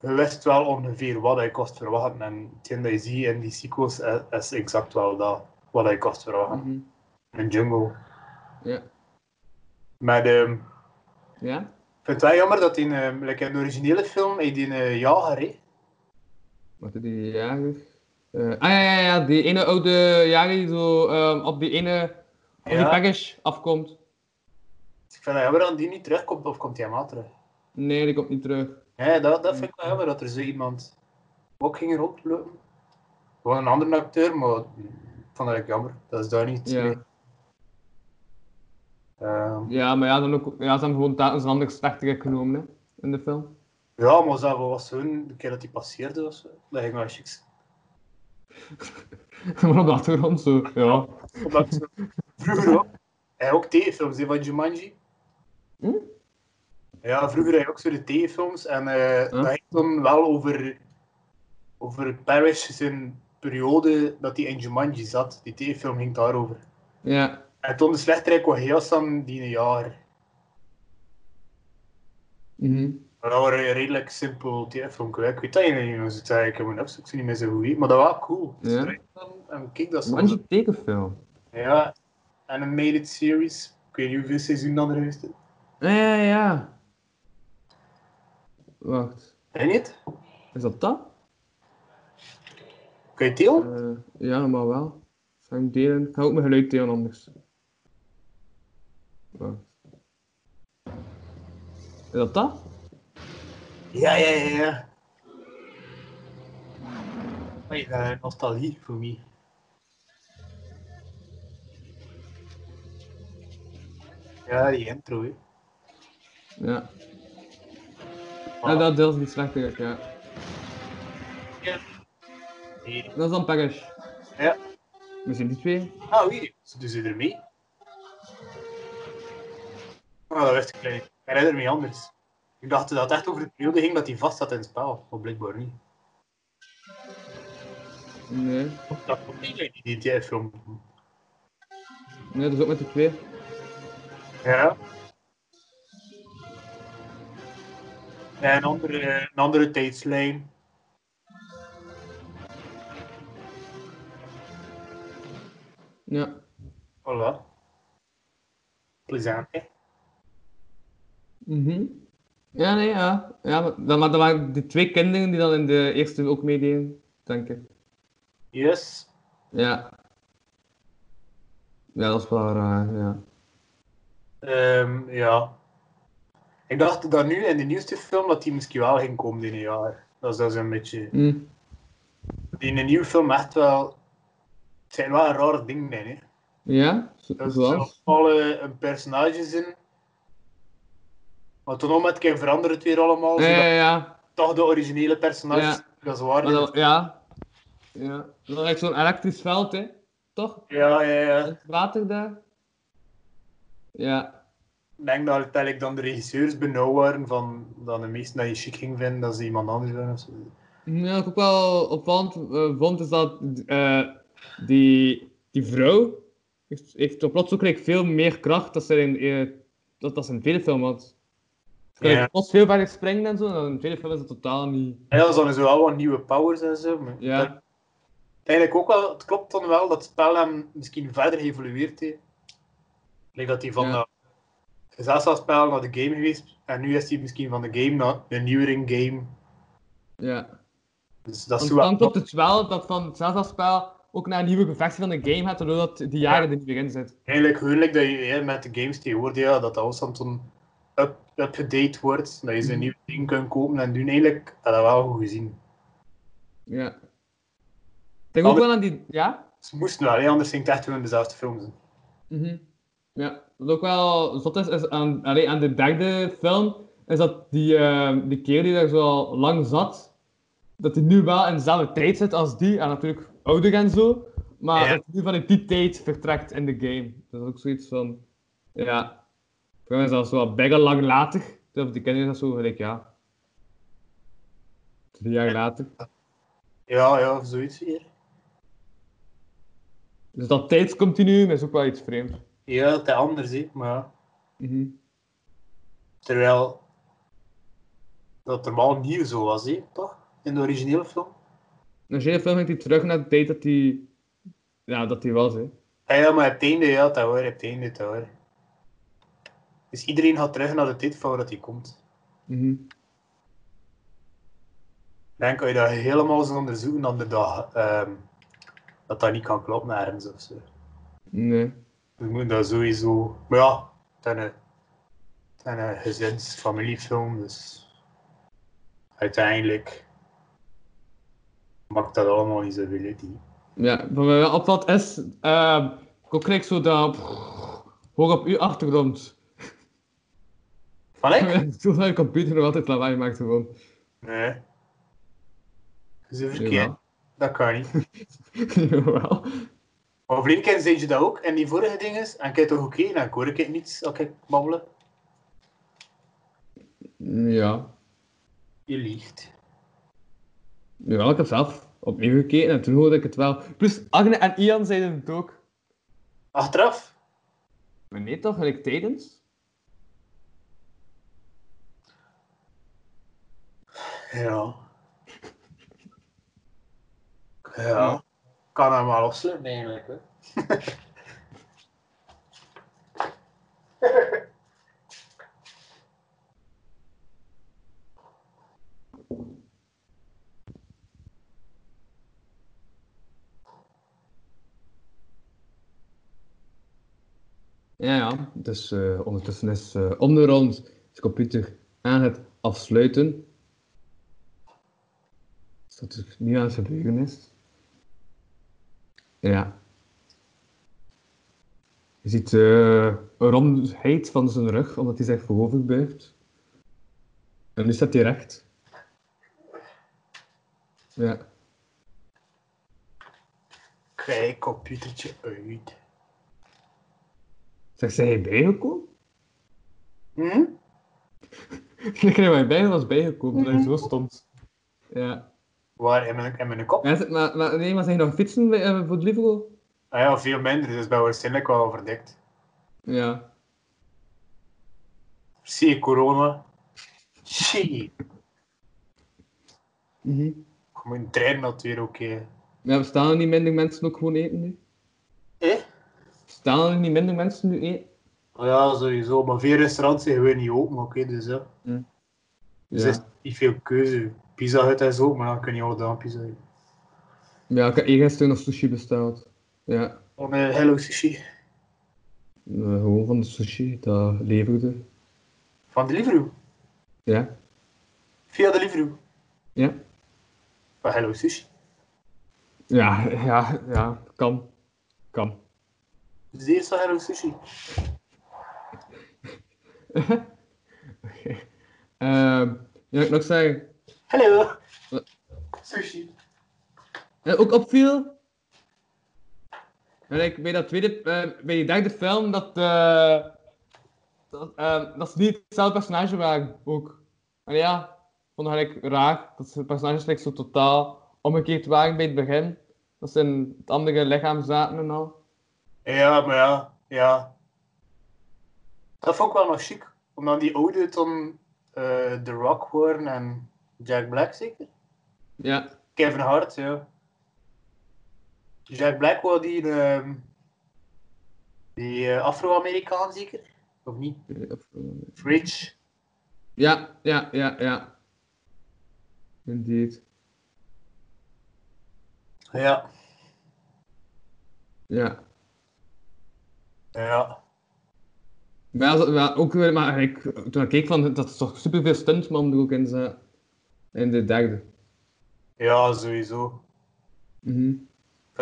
C: je wist wel ongeveer wat je kost verwachten. En hetgeen dat je ziet in die sequels is, is exact wel dat, wat je kost verwachten.
D: Mhm.
C: In Jungle.
D: Ja.
C: Maar ehm,
D: Ja?
C: ik vind het wel jammer dat in, ehm, like in de originele film, hij die eh, jager, hè.
D: Wat is die jager? Eh, ah ja, ja, ja, die ene oude jager die zo ehm, op die ene op Oh, die
C: Ja.
D: package afkomt.
C: Dus Ik vind het jammer dat die niet terugkomt, of komt hij hem wel terug?
D: Nee, die komt niet terug.
C: Nee, dat, dat vind ik wel jammer dat er zo iemand ook ging rondlopen. Gewoon een andere acteur, maar ik vond dat ik jammer. Dat is daar niet.
D: Ja.
C: mee. Ehm,
D: Ja, maar ja, dan ook, ja, ze hebben gewoon telkens een andere slechterik genomen hè, in de film. [laughs]
C: ja, maar zelf was zo'n de keer dat hij passeerde of zo. Dat ging wel chic.
D: maar op de achtergrond zo, ja.
C: Omdat ik zo- vroeger ook, hij ook tegenfilms hè, van Jumanji.
D: Hm?
C: Ja, vroeger had je ook zo de tegenfilms en eh,
D: Huh?
C: dat ging dan wel over, over Parrish zijn periode dat hij in Jumanji zat. Die tegenfilm ging daarover.
D: Ja,
C: En toen de slechterik was heel snel die een jaar.
D: mhm.
C: Maar Dat waren redelijk simpel TF-filmpjes. Ik weet dat je niet meer zit eigenlijk in mijn opzoek, ik zie niet meer zo goed wie, maar dat was cool.
D: Ja.
C: Strijd dan, En kijk dat soms.
D: Manji tekenfilm.
C: Ja, animated series. Ik weet niet hoeveel seizoen dan er is.
D: Ja, ja, ja. Wacht,
C: En niet?
D: is dat dat?
C: Kun je deel?
D: Eh, ja, normaal wel. Zal ik hem delen? Ik ga ook mijn geluid delen anders. Wacht. Is dat dat?
C: Ja, ja, ja, ja. Oei, eh, nostalgie voor mij. Ja, die intro, hè.
D: Ja. Ja, dat deel is niet slechter, ja.
C: Hier.
D: Dat is dan Paris.
C: Ja.
D: We zijn die twee.
C: Ah, wie? Ze doen ze ermee. Oh, dat wist ik niet. Ik herinner me anders. Ik dacht dat het echt over de periode ging dat hij vast zat in het spel, maar blijkbaar niet.
D: Nee.
C: Dat komt niet uit die DTF-film.
D: Nee, dat is ook met de twee.
C: Ja. Ja, een andere, een andere tijdslijn.
D: Ja.
C: Voilà. Plezant, hè?
D: Mhm. Ja, nee, ja. ja maar, dan, maar dat waren die twee kinderen die dan in de eerste ook meededen, denk ik.
C: Yes.
D: Ja. Ja, dat is wel raar, ja.
C: Ehm, ja. Ik dacht dat nu in de nieuwste film dat die misschien wel ging komen in een jaar. Dat is, dat is een beetje...
D: Hm.
C: die in een nieuwe film echt wel. Het zijn wel rare dingen in. Hè.
D: Ja, zo-
C: Dat
D: zoals?
C: is alle een personages in. Maar toen om het keer veranderen het weer allemaal.
D: Ja, ja,
C: zodat
D: ja.
C: toch de originele personages.
D: Ja.
C: Dat is waar.
D: Maar dat- ja. Ja. Dat is echt zo'n elektrisch veld, hè. Toch?
C: Ja, ja, ja.
D: Het water daar. Ja.
C: Ik denk dat uiteindelijk dan de regisseurs benauwd waren van dat de meesten dat je chic ging vinden, dat ze iemand anders waren. of zo.
D: Ja, wat ik ook wel opvallend eh, vond, is dat eh, die, die vrouw heeft, heeft toch plots ook gelijk veel meer kracht dan ze in, eh, dat, dat ze in de tweede film had. Ze kan
C: Ja.
D: like plots veel verder springen en zo, en dan in de tweede film is dat totaal niet.
C: Ja, dat zijn zo wel wat nieuwe powers en zo. Maar dat-
D: Ja,
C: Eigenlijk ook wel, het klopt dan wel dat het spel hem misschien verder geëvolueerd heeft. Like dat hij van
D: Ja.
C: dat gezelschapsspel naar de game geweest en nu is hij misschien van de game naar een nieuwering game.
D: ja.
C: Dus dat
D: Want
C: is zo wel.
D: dan klopt het wel dat van hetzelfde spel ook naar een nieuwe versie van de game gaat, doordat die jaren er niet meer in zitten.
C: Eigenlijk huwelijk dat je hè, met de games tegenwoordig, ja, dat dat was dan zo'n up, upgedate wordt, dat je zo'n nieuw ding kunt kopen en doen eigenlijk, dat dat wel goed gezien.
D: Ja. Ik denk ook
C: Alle-
D: wel aan die... Ja?
C: Ze moesten wel, hè, anders ging het echt gewoon dezelfde films. zijn.
D: Mhm. Ja, wat ook wel zot is, is aan, allee, aan de derde film, is dat die, eh, die keer die daar zo al lang zat, dat hij nu wel in dezelfde tijd zit als die, en natuurlijk ouder en zo, maar
C: Ja.
D: dat hij nu vanuit die tijd vertrekt in de game. Dat is ook zoiets van, ja, voor mij is dat zo wel bijna lang later, terwijl die kinderen dat zo gelijk, ja, drie jaar later.
C: Ja, ja, zoiets hier.
D: Dus dat tijdscontinuum is ook wel iets vreemds.
C: Ja, het is anders, hè, maar ja.
D: Mhm.
C: Terwijl dat normaal nieuw zo was, hè, toch? In de originele film.
D: Als je de film ging hij terug naar de tijd dat hij... Ja, dat hij was, hè.
C: Ah Ja, maar het einde, ja, dat hoor, het einde, dat hoor. Dus iedereen gaat terug naar de tijd van waar dat hij komt.
D: Mhm.
C: Ik denk dat je dat helemaal zou onderzoeken, dan de dag, ehm, dat dat niet kan kloppen ergens of zo.
D: Nee.
C: Dus moet dat sowieso. Maar ja, het is een, het is een gezins- familiefilm, dus uiteindelijk maakt dat allemaal niet zoveel uit. hè.
D: Ja, wat mij wel opvalt is... ehm ik krijg zo dat... Hoog op uw achtergrond. [laughs]
C: Van ik?
D: Zo naar je computer nog altijd lawaai maakt gewoon. [laughs]
C: Nee. Dat is een verkeerd.
D: Jawel.
C: Dat kan niet.
D: Jawel.
C: Maar verleden keer zei je dat ook, en die vorige ding is, en kijk toch oké, dan hoor ik het niet als ik babbelen.
D: Ja.
C: Je liegt.
D: Jawel, ik heb zelf opnieuw gekeken en toen hoorde ik het wel. Plus, Agne en Ian zeiden het ook.
C: Achteraf?
D: Maar nee toch, gelijk tijdens?
C: Ja. Ja. Kan hem wel opsluiten eigenlijk. Hè.
D: Ja, ja. Dus eh, ondertussen is eh, om de rond de computer aan het afsluiten. Dus dat het niet aan het gebeuren is. Ja. Je ziet eh, een rondheid van zijn rug, omdat hij zich vooroverbuigt. En nu staat hij recht. Ja.
C: Kijk, computertje uit.
D: Zeg, zijn jij bijgekomen? [laughs]
C: Hm?
D: Ik denk dat hij bijna was bijgekomen, dat hij zo stond. Ja.
C: Waar? In mijn, in mijn kop?
D: Ja, ze- maar, maar, nee, maar zijn je nog fietsen bij- eh, voor het Liverpool?
C: Ah ja, veel minder, dus ben waarschijnlijk wel verdikt.
D: Ja.
C: Zie je corona? Shit. Mhm. Je moet een trein natuurlijk ook. hè.
D: Ja, bestaan er niet minder mensen ook gewoon eten nu?
C: Eh?
D: Bestaan er niet minder mensen nu eten?
C: Oh ja, sowieso. Maar veel restaurants zijn gewoon niet open, oké, dus ja. Dus
D: Ja.
C: er is niet veel keuze. Pizza Hut en zo, maar dan kun je alle dagen pizza eten.
D: ja, ik heb eergisteren nog sushi besteld. Ja,
C: Van eh, Hello Sushi.
D: eh, gewoon van de sushi, dat leverde.
C: Van Deliveroo.
D: Ja,
C: Via Deliveroo.
D: ja.
C: Van Hello Sushi.
D: Ja, ja, ja, kan. Kan.
C: Dus de eerste van Hello Sushi.
D: Ehm ja, ik nog zeggen,
C: Hallo.
D: Wat?
C: Sushi.
D: En Eh, ook opviel. En ik, bij, dat tweede, eh, bij die derde film dat, eh, dat, eh, dat ze niet hetzelfde personage waren ook. En ja, ik vond het eigenlijk raar dat ze personages like, zo totaal omgekeerd waren bij het begin. Dat ze in het andere lichaam zaten en al.
C: Ja, maar ja. Ja. Dat vond ik wel nog chic. Omdat die oude dan eh, The Rock worden en Jack Black zeker.
D: Ja,
C: Kevin Hart, ja. Jack Black was die, ehm, die eh, Afro-Amerikaan zeker? Of niet? Rich.
D: ja, ja, ja, ja. Indeed.
C: Ja.
D: Ja.
C: Ja.
D: Maar, ja, zo- maar ook weer, maar ik, toen ik keek van, dat is toch superveel stuntman er ook in zijn. In de derde.
C: Ja, sowieso.
D: Mhm.
C: Ik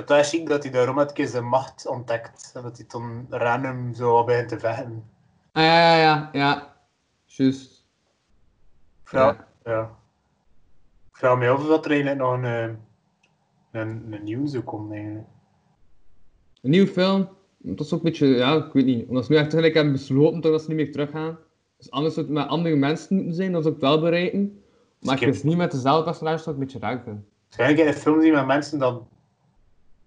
C: vind het wel chic dat hij daarom een keer zijn macht ontdekt. En dat hij dan random zo wat begint te vechten.
D: Ah ja, ja, ja, ja. Juist.
C: Ja. ja. Ik vraag me af of dat er eigenlijk nog een, eh, een, een nieuw zou komen eigenlijk.
D: Een nieuwe film. Dat is ook een beetje, ja, ik weet niet. Omdat ze nu echt gelijk hebben besloten toch dat ze niet meer teruggaan. Dus anders zou het met andere mensen moeten zijn, dat ze ook wel bereiken. Maar
C: Skip.
D: het is niet met dezelfde personages dat ik een beetje raar vind.
C: Waarschijnlijk in een film zien met mensen dat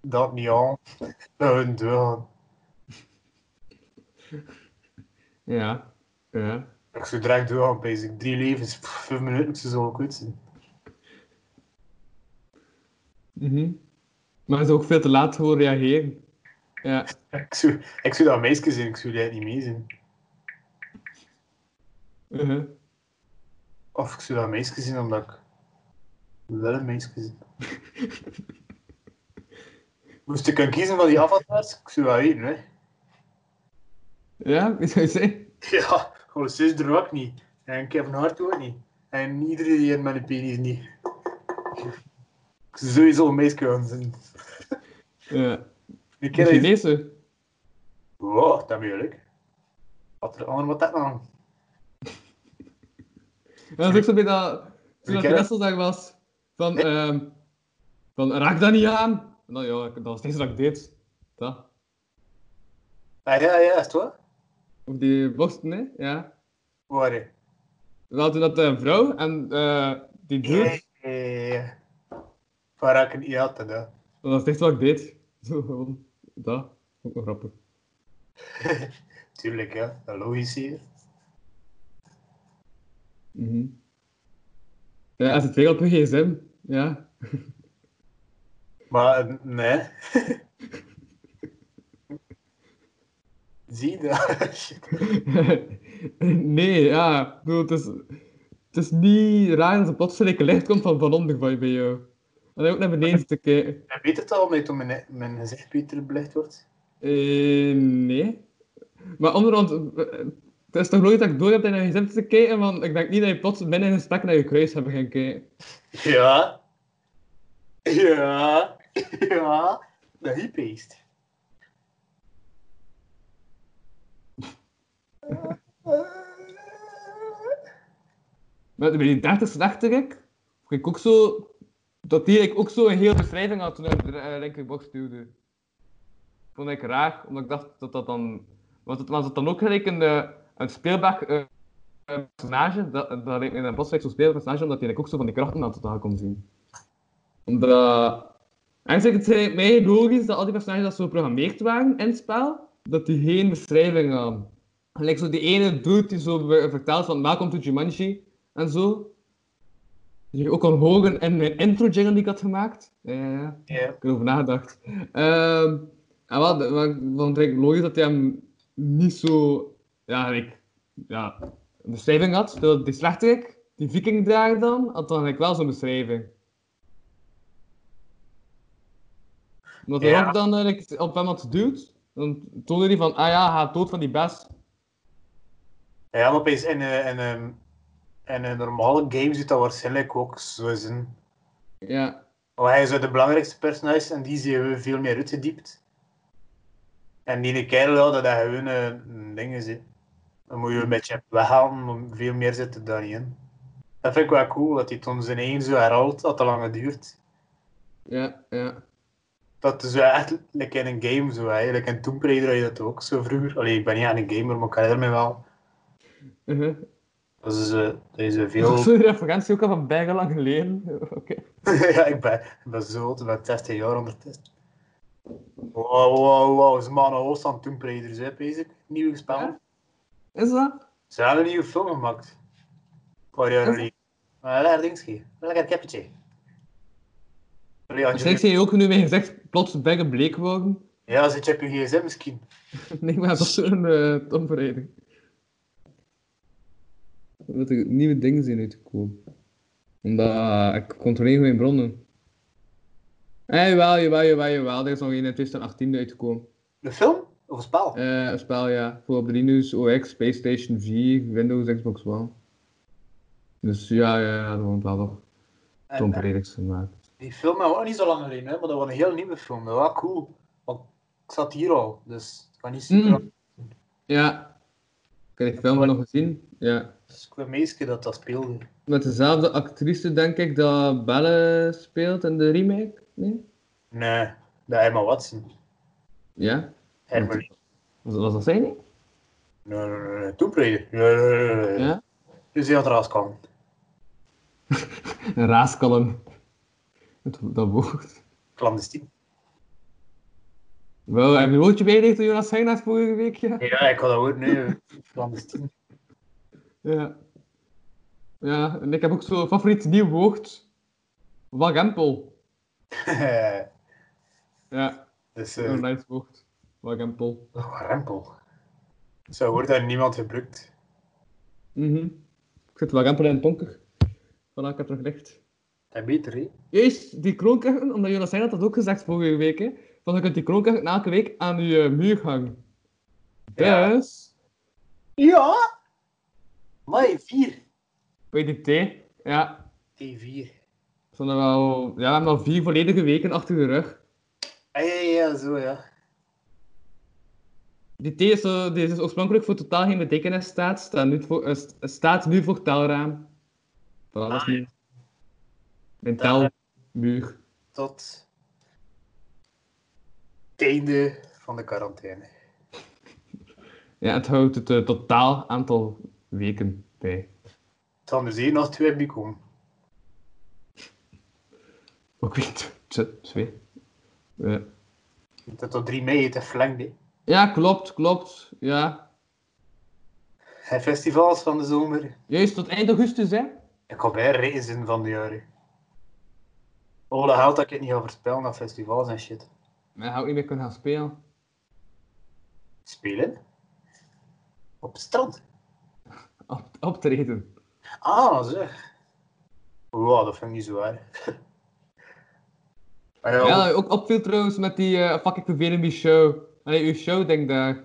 C: dat niet aan. [laughs] Dat hun doorgaan.
D: Ja. Ja.
C: Ik zou direct doorgaan, bezig. Drie levens, pff, vijf minuten, ik zou zo wel goed zijn.
D: Mhm. Maar ze is ook veel te laat voor reageren. Ja.
C: Ik zou, ik zou dat meisje zijn, ik zou dat niet mee zijn.
D: Uh-huh.
C: Of ik zou dat meisje zijn omdat ik wel een meisje ben. Moest ik kunnen kiezen van die avatars? Ik zou dat weten, hè.
D: Ja, [laughs] wie zou je zeggen?
C: [laughs] Ja, gewoon zus er ook niet. En Kevin Hart ook niet. En iedereen die met een penis niet. Ik zou sowieso een meisje gaan zijn.
D: Ja.
C: Ik
D: Een
C: ken dat
D: Chinese.
C: Wow, dat moeilijk. Wat er aan wat dat dan?
D: Ja, dat is ook zo bij dat... Toen dat
C: Ik ken het.
D: Wessel daar was. Van, ehm, van, raak dat niet aan. En dan, ja, ik- dat was het eerste dat ik deed. Dat.
C: Ah ja, ja, is het waar?
D: Of die borsten, hè? Ja.
C: Waar? hè?
D: Wel, toen dat eh, een vrouw en eh, die broer,
C: Eh, eh, Waar raak ik niet altijd, hè?
D: dat was het eerste wat ik deed. [laughs] Zo, gewoon, dat. Ook wel grappig.
C: Tuurlijk, ja. Dat logisch hier.
D: Mhm. Ja, als het weer op een gsm. Ja. [laughs]
C: Maar, eh, nee. [laughs] Zie je dat? [laughs] Shit.
D: nee, ja. Ik bedoel, het is, het is niet raar dat er plotseling een licht komt van, van onder van je- bij jou. En dan ook naar beneden te kijken.
C: Ik weet het al, omdat toen mijn, mijn gezicht beter belicht wordt.
D: Eh, nee. Maar onderhand, eh, het is toch nooit dat ik door heb naar je gsm te kijken, want ik denk niet dat je plots binnen een gesprek naar je kruis hebt gaan kijken.
C: Ja. Ja. Ja. De hippiest.
D: Maar bij die 30 dacht ik, vond ik ook zo, dat die ik ook zo een hele beschrijving had toen ik de eh, linkerbox duwde. Vond ik raar, omdat ik dacht dat dat dan. Was het, was het dan ook gelijk een, eh, een speelbaar eh, eh, personage? Dat, dat leek me in een boswijk zo'n speelbaar personage, omdat hij ook zo van die krachten aan totaal kon zien. Omdat. Eigenlijk het lijkt mij logisch dat al die personages dat zo geprogrammeerd waren in het spel, dat die geen beschrijving hadden. Gelijk zo die ene dude die zo be- vertelt van welkom to Jumanji en zo. Die je ook kon horen in mijn intro jingle die ik had gemaakt. Ja, ja, ja.
C: Ja.
D: Ik heb erover nagedacht. Ehm, en wat, wat ik vond het logisch dat hij hem niet zo, ja, ik, ja, een beschrijving had. Terwijl Die slechterik, die viking daar dan, had dan eigenlijk wel zo'n beschrijving. Omdat hij
C: Ja.
D: ook dan eigenlijk op hem had geduwd, dan toonde hij van, ah ja, hij gaat dood van die best.
C: Ja, maar opeens in een, in een, in een normale game zit dat waarschijnlijk ook zo zijn.
D: Ja,
C: Maar hij is de belangrijkste personage en die zien we veel meer uitgediept. En die kerel, ja, dat hij gewoon eh, een ding is. hè. Dan moet je een beetje weghalen, want veel meer zit er daar niet in. Dat vind ik wel cool, dat hij toen zijn eigen zo herhaalt, dat te lang duurt.
D: ja, ja.
C: Dat is zo echt like in een game zo, eigenlijk. En Tomb Raider had je dat ook zo vroeger. Allee, ik ben niet aan een gamer, maar ik herinner me wel.
D: Uh-huh.
C: Dat is, eh, dat is eh,
D: Dat
C: veel...
D: is een referentie ook al van bijna lang geleden. [laughs] Oké.
C: [laughs] ja, ik ben, ik ben zo oud, ik ben 16 jaar ondertussen. Wow, wow, wow, ze maken een host aan Tomb Raiders, hè, bezig. Nieuw spel.
D: Ja? Is dat?
C: Ze hebben een nieuwe film gemaakt. Een paar jaar
D: Is-
C: geleden. Maar een lekker dingetje. Een lekker keppetje. Allee, had je-
D: Zeg, zie je ook nu mee gezegd, plots bijna bleek worden? [laughs]
C: Ja, zit je op je gsm misschien?
D: Nee, maar dat is zo'n eh tomverrijding. Dat er nieuwe dingen zien uitgekomen. Omdat eh, ik controleer mijn bronnen. Eh, Hé, jawel, jawel, jawel, jawel. Er is nog één in 2018 uitgekomen.
C: De film? Of een spel.
D: Eh, een spel, ja. Voor op de Linux, OX, PlayStation 4, Windows, Xbox One. Dus ja, ja, ja, dat wordt wel toch. Tom
C: En, eh,
D: Predix gemaakt.
C: die film hebben we ook niet zo lang geleden, hè, maar dat was een heel nieuwe film. Dat was wel cool. Want ik zat hier al, dus ik kan niet zien.
D: Mm. Ja. Ik heb die film nog gezien. Ja.
C: Dus ik weet meestal dat dat speelde.
D: Met dezelfde actrice, denk ik, dat Belle speelt in de remake. Nee?
C: Nee, dat Emma Watson.
D: Ja.
C: Emma. Nee,
D: Was, was dat zij niet?
C: nee, nee, nee. Tomb Raider. Nee, nee, nee, nee.
D: Ja.
C: Dus die had er als kan.
D: Een raaskalm. Dat, dat woord.
C: Clandestien.
D: Wel, heb je een woordje bijgelegd door Jonas Heijnaert vorige week? Ja.
C: Ja, ik had dat woord nu. [laughs] Clandestien.
D: Ja. Ja, en ik heb ook zo'n favoriet nieuw woord. Wagempel.
C: eh,
D: Oh, Ja,
C: dus
D: een
C: eh
D: nice woord. Wagempel.
C: rempel. Zo wordt daar niemand gebruikt.
D: Mhm. Ik zit wagempel in het donker. Vandaag heb ik het nog licht.
C: Dat is beter, hè?
D: Juist, die kroonkerken, omdat Jonas Heijn had dat ook gezegd vorige week, hè. Van, je kunt die kroonkerken elke week aan je eh, muur hangen.
C: Ja.
D: Dus,
C: Ja! Mai, 4.
D: bij die thee, ja,
C: T4.
D: we zijn er wel, ja, we hebben al vier volledige weken achter de rug.
C: Ah, ja, ja, ja, zo ja.
D: Die T is, eh, die is oorspronkelijk voor totaal geen betekenis staat, staat nu voor, eh, st- staat nu voor taalraam. Voilà, dat is
C: Ah,
D: nieuw. Een
C: Taalraam.
D: taalmuur.
C: Tot het einde van de quarantaine.
D: Ja, het houdt het eh, totaal aantal weken bij.
C: Het zal dus één als twee bij komen.
D: Ook weer [laughs] t- t- twee. Eh,
C: Dat tot 3 mei het verlengd, hè.
D: ja, klopt, klopt. Ja.
C: En festivals van de zomer.
D: Juist tot eind augustus, hè?
C: Ik ga bij reizen van de jaren. Oh, dat geld dat ik het niet ga voorspellen naar festivals en shit.
D: Maar je gaat ook niet meer kunnen gaan spelen. [laughs]
C: Spelen? Op het strand.
D: Op, optreden.
C: Ah, zeg. Wow, dat vind ik niet zo waar. [laughs] Maar ja,
D: Ja, dat ook opviel trouwens met die eh, fucking vervelende show. Allee, uw show, denk ik daar.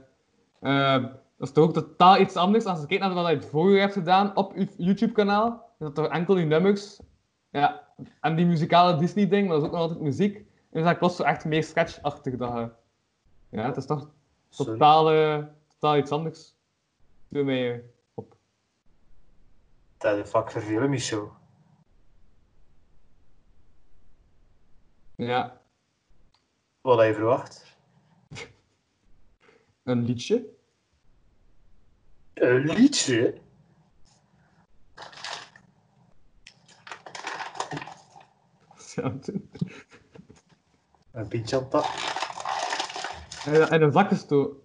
D: Ehm, dat is toch ook totaal iets anders als je kijkt naar wat je het vorige hebt gedaan op uw YouTube-kanaal. Is dat toch enkel die nummers? Ja, en die muzikale Disney-ding, maar dat is ook nog altijd muziek. En dan is dat plots zo echt meer sketchachtig dat je... Ja, het is toch
C: sorry.
D: totaal, eh, totaal iets anders. Doe mij eh, op.
C: Dat is fuck vervelen, Michel.
D: Ja,
C: Wat had je verwacht?
D: een liedje. [laughs]
C: Een liedje? Een pintje aan tafel.
D: En en een zak gestoken.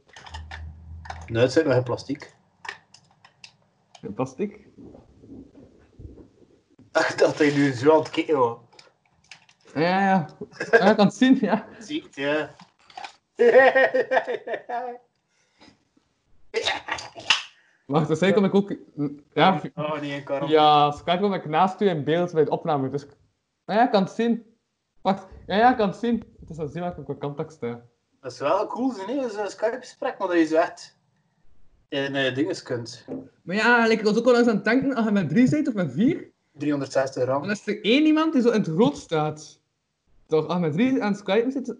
C: Nee, het zit nog in plastic. [laughs]
D: In Plastic.
C: Ach, dat hij nu zo aan het kijken was.
D: Ja, ja, ja. Ja, ik kan het zien, ja.
C: Ziet, ja.
D: Wacht, dus eigenlijk kom ik ook... Ja, v-
C: [laughs] Oh nee, ik kan
D: ja Skype kom ik naast u in beeld bij de opname, dus... Ah ja, ik kan het zien. Wacht, ja, ja, ik kan het zien. Het is dat zien waar ik op contact sta.
C: Dat is wel cool, hè, nee, zo'n Skype-gesprek, maar dat je zo echt in eh, dingen kunt.
D: Maar ja, ik was ook al eens aan het denken, als je met drie bent of met vier,
C: 360
D: dan
C: gram.
D: is er één iemand die zo in het rood staat. Toch, als je met drie aan het skypen zit, ik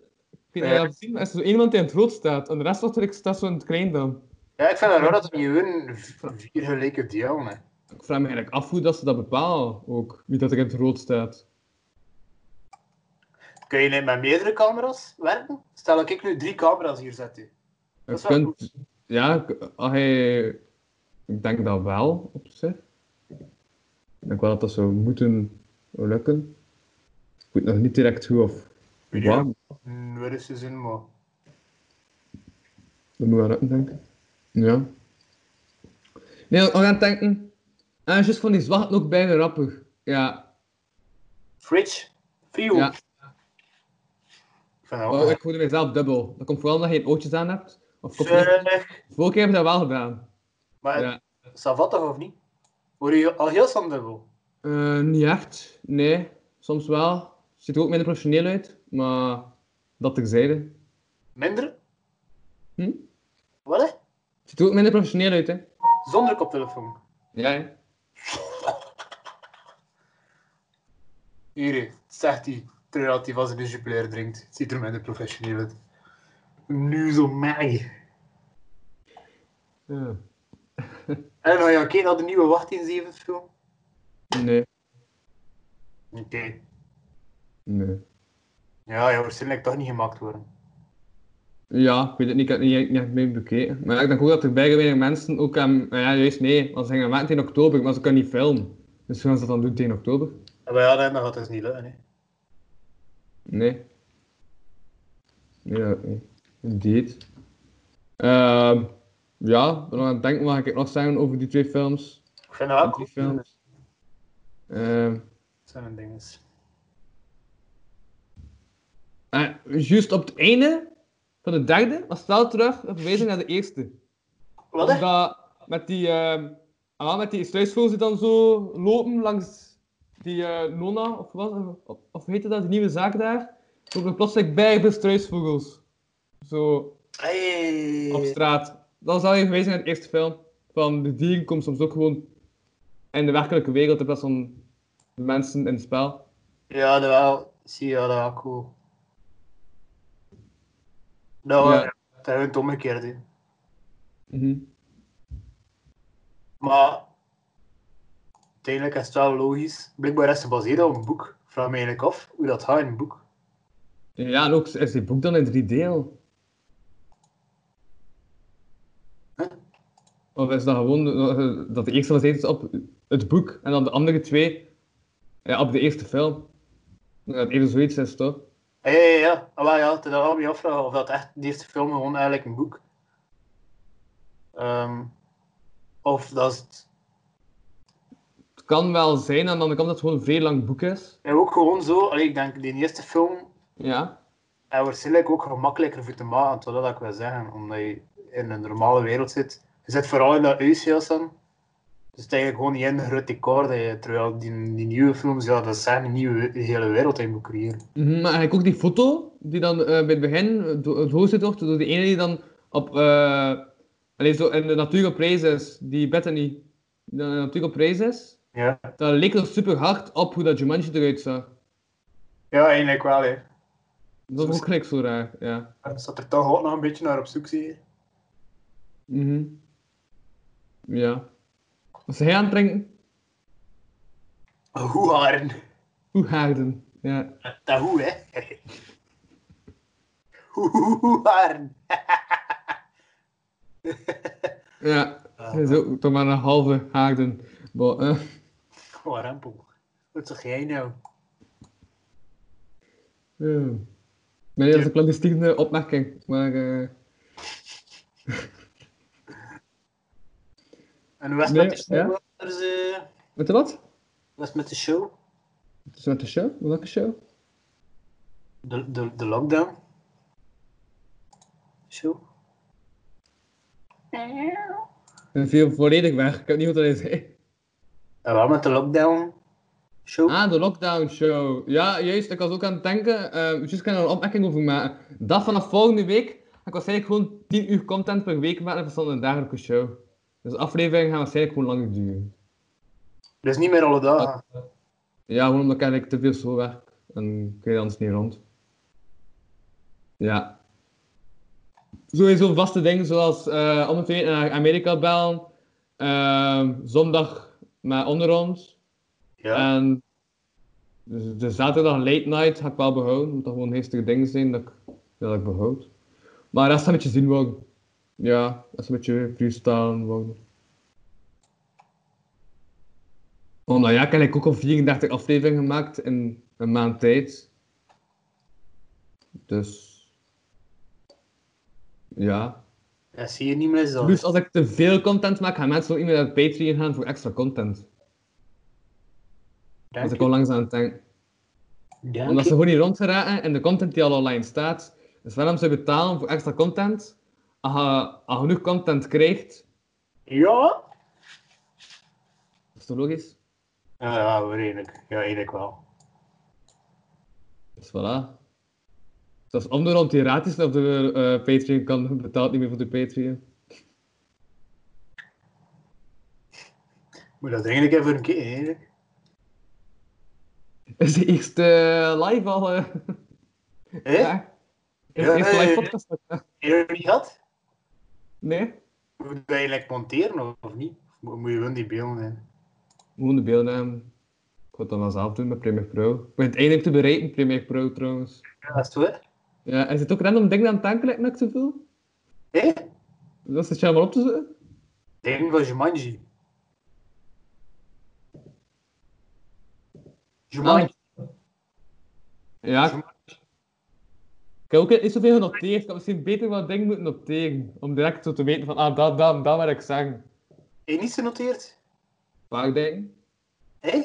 D: weet niet of je dat hebt gezien, maar is er zo één iemand die in het rood staat, en de rest wordt er- staat zo in het klein dan.
C: Ja, ik vind het raar dat er niet hun v- vier gelijke delen hè.
D: Ik vraag me eigenlijk af hoe dat ze dat bepalen, ook, wie dat er in het rood staat.
C: Kun je niet met meerdere camera's werken? Stel dat ik nu drie camera's hier zet. hè.
D: Je
C: Dat is wel
D: kunt- ja, k- als je- ik denk dat wel op zich. Ik denk wel dat dat zou moeten lukken. Ik weet nog niet direct hoe of
C: Weet je
D: waar.
C: wel? Hm, Waar is ze zin, maar...
D: Dat moet wel lukken, denk ik. Ja. Nee, we gaan denken. En juist van die zwart nog bij de rapper. Ja.
C: Fridge? View?
D: ja.
C: Ik vind dat
D: Oh,
C: wel...
D: ik voelde mezelf dubbel. Dat komt vooral omdat je geen ootjes aan hebt. Of komt
C: Zeg,
D: Vorige keer heb je dat wel gedaan.
C: Maar
D: Ja.
C: Savat toch of niet? Hoor je al heel snel dubbel?
D: Eh, niet echt, nee. Soms wel. Ziet er ook minder professioneel uit, maar dat terzijde.
C: Minder?
D: Hm?
C: Wat hè?
D: Ziet er ook minder professioneel uit, hè?
C: Zonder koptelefoon.
D: Ja, hè?
C: Hier, hè, zegt hij, terwijl hij van zijn jubilair drinkt. Het Ziet er minder professioneel uit. Nu zo mij.
D: Ja.
C: En nou ga je ook naar de nieuwe Wacht in Zeven film?
D: Nee.
C: Oké.
D: Nee.
C: Ja, ja, waarschijnlijk toch niet gemaakt worden.
D: Ja, ik weet het niet, ik heb het niet, echt- niet echt mee bekeken. Maar ja, ik denk ook dat er bij weinig mensen ook aan... maar Ja, juist nee, want ze gingen maken in oktober, maar ze kunnen niet filmen. Dus hoe gaan ze dat dan doen tegen oktober?
C: Ja, Maar ja, dan gaat het dus niet lukken. Hè.
D: Nee. Nee, dat niet. Indeed. Ehm, ja, ik ben nog aan het denken, wat ga ik nog zeggen over die twee films?
C: Ik vind dat wel
D: die
C: cool.
D: films. Ehm,
C: Zo'n ding is.
D: en juist op het einde van de derde was het wel terug een verwijzing naar de eerste.
C: Wat hè?
D: Omdat met die, ehm ah, met die struisvogels die dan zo lopen langs die eh Nona, of wat, of, of hoe heette dat, die nieuwe zaak daar, komen er plotseling bij de struisvogels. Zo
C: Hey.
D: op straat. Dat is al even geweest in het eerste film. Van de dieren komen soms ook gewoon in de werkelijke wereld in plaats van de mensen in het spel.
C: Ja, dat wel. Zie je, dat wel cool. Nou,
D: Ja.
C: ja. dat hebben we het omgekeerd. hè.
D: Mhm.
C: Maar uiteindelijk is het wel logisch. Blijkbaar is het gebaseerd op een boek. Ik vraag me eigenlijk af hoe dat gaat in een boek.
D: Ja, en ook is die boek dan in drie deel?
C: Huh?
D: Of is dat gewoon eh, dat de eerste gebaseerd is op het boek en dan de andere twee ja, op de eerste film? Dat het even zoiets is, toch?
C: Ja, ja, ja, ja. Ah, wel, ja. Toen wou ik me afvragen of dat echt de eerste film gewoon eigenlijk een boek. Ehm, of dat het
D: Het kan wel zijn, aan de andere kant dat het gewoon een vrij lang boek is.
C: en ook gewoon zo. Allee, ik denk, die eerste film
D: Ja.
C: En waarschijnlijk ook gemakkelijker voor te maken, terwijl dat ik wil zeggen, omdat je in een normale wereld zit. Je zit vooral in dat huisjes dan. Dus het is eigenlijk gewoon niet in de grote koorden. Terwijl die, die nieuwe films, ja, dat zijn een nieuwe een hele wereld in moet creëren.
D: Mhm, Maar eigenlijk ook die foto die dan eh, bij het begin eh, do- het hoogste wordt door die ene die dan op, eh allee, zo in de natuur op reis is, die Bethany, die dan in de natuur op reis is.
C: Ja,
D: Dat leek er super hard op hoe dat Jumanji eruit zag.
C: ja eigenlijk wel. Hè.
D: Dat was ook gelijk zo raar, ja.
C: En dat er toch ook nog een beetje naar op zoek, zie je.
D: Mhm. Ja. Als hij aan het drinken,
C: Hoe haren.
D: hoe haarden. Ja.
C: Dat hoe, hè. [laughs] Hoe haren.
D: Ja. Hij is ook toch maar een halve haarden. Bo, eh.
C: Oh, rempel. Wat zeg jij nou?
D: Ja. Nee, dat is een clandestine opmerking, maar... eh,
C: En hoe is het
D: Nee,
C: met de show?
D: ja.
C: Anders, eh,
D: Weet je wat?
C: Hoe is het met de show?
D: Het is met de show? Welke show?
C: De, de, de lockdown. Zo.
D: En viel volledig weg, ik heb niet wat hij zei.
C: En waarom met de lockdown? Zo.
D: Ah, de lockdown show. Ja, juist, ik was ook aan het denken. eh juist kan er een opmerking over maken. Dat vanaf volgende week ga ik waarschijnlijk gewoon 10 uur content per week maken van een dagelijke show. Dus afleveringen gaan waarschijnlijk gewoon langer duren.
C: Dus niet meer alle
D: Ah.
C: dagen.
D: Ja, gewoon omdat ik eigenlijk te veel zo werk. En kun je anders niet rond. Ja. Sowieso vaste dingen zoals eh om het weer naar Amerika bellen. ehm, zondag naar onder ons.
C: Ja.
D: En dus de zaterdag late night ga ik wel behouden, omdat dat gewoon geestige dingen zijn dat ik, ja, dat ik behoud. Maar dat is een beetje zien worden. Ja, dat is een beetje freestyle worden. Omdat Oh, nou ja, ik heb eigenlijk ook al 34 afleveringen gemaakt in een maand tijd. Dus... Ja.
C: Dat zie je niet meer zo.
D: Plus als ik te veel content maak, gaan mensen ook niet meer naar Patreon gaan voor extra content.
C: Dank
D: Dat ik
C: je.
D: al langs aan het denken.
C: Dank
D: Omdat ze
C: je.
D: gewoon niet rond geraken en de content die al online staat. Dus waarom ze betalen voor extra content? Als je, als je genoeg content krijgt,
C: Ja?
D: dat is toch logisch?
C: Ja, ja, wel redelijk. Ja, eigenlijk wel.
D: Dus voilà. Dus als onderhand die gratis op de eh, Patreon [laughs] kan, betaalt niet meer voor de Patreon.
C: Moet dat eigenlijk even een keer, eigenlijk.
D: Is de eerste live al... eh, [laughs]
C: Hé?
D: ja. Is
C: Ja,
D: de eerste live
C: nee, nee.
D: podcast? al-
C: Heb je niet gehad?
D: Nee?
C: Moet je eigenlijk monteren of niet? Of moet- moet je wel die beelden in?
D: Gewoon de beelden. ehm, Ik ga het dan vanzelf doen met Premiere Pro. Ik ben het eindelijk te bereiken, Premiere Pro trouwens.
C: Ja, dat is toch, hè?
D: Ja, is het ook random dingen aan het aanklikken dat ik te veel?
C: Hé?
D: Dat zit je allemaal op te zetten?
C: Ding van Jumanji.
D: Ah.
C: Jumanji.
D: Ja. Ik ik heb ook niet zoveel genoteerd. Ik had misschien beter wat dingen moeten noteren. Om direct zo te weten van, ah, dat, dat, dat wat ik zeg.
C: Heb je niet genoteerd?
D: Een paar dingen.
C: Hé?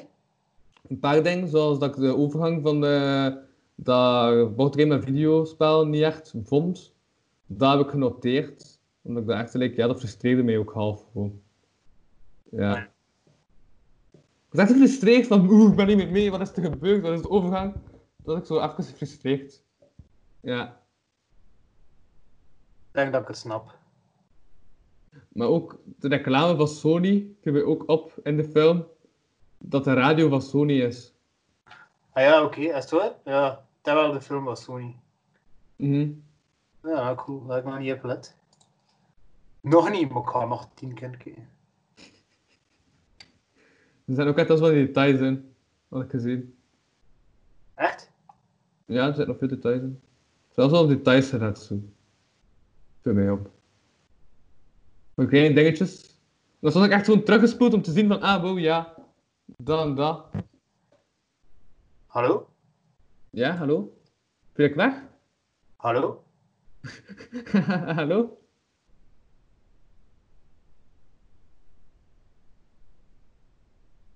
D: Een paar dingen, zoals dat ik de overgang van de, dat boardgame en videospel niet echt vond. Dat heb ik genoteerd. Omdat ik dat echt like, ja, dat frustreerde mij ook half gewoon. Ja. Ik was echt gefrustreerd van, oeh, ik ben niet meer mee, wat is er gebeurd, wat is de overgang? Dat was ik zo even gefrustreerd. Ja.
C: Ik denk dat ik het snap.
D: Maar ook de reclame van Sony, die we ook op in de film, dat de radio van Sony is.
C: Ah ja, oké, is het waar? Ja, terwijl de film was Sony.
D: Mhm.
C: Ja, cool, dat ik nog niet heb gelet. Nog niet, maar ik ga nog tien keer kijken.
D: Er zijn ook echt als wel die details in, had ik gezien.
C: Echt?
D: Ja, er zitten nog veel details in. Zelfs al op details gaat zo. Veel mij op. Maar kleine dingetjes. Dan stond ik echt gewoon teruggespoeld om te zien van, ah, wow, ja. Dat en dat.
C: Hallo?
D: Ja, hallo? Ben ik weg?
C: Hallo?
D: [laughs] hallo?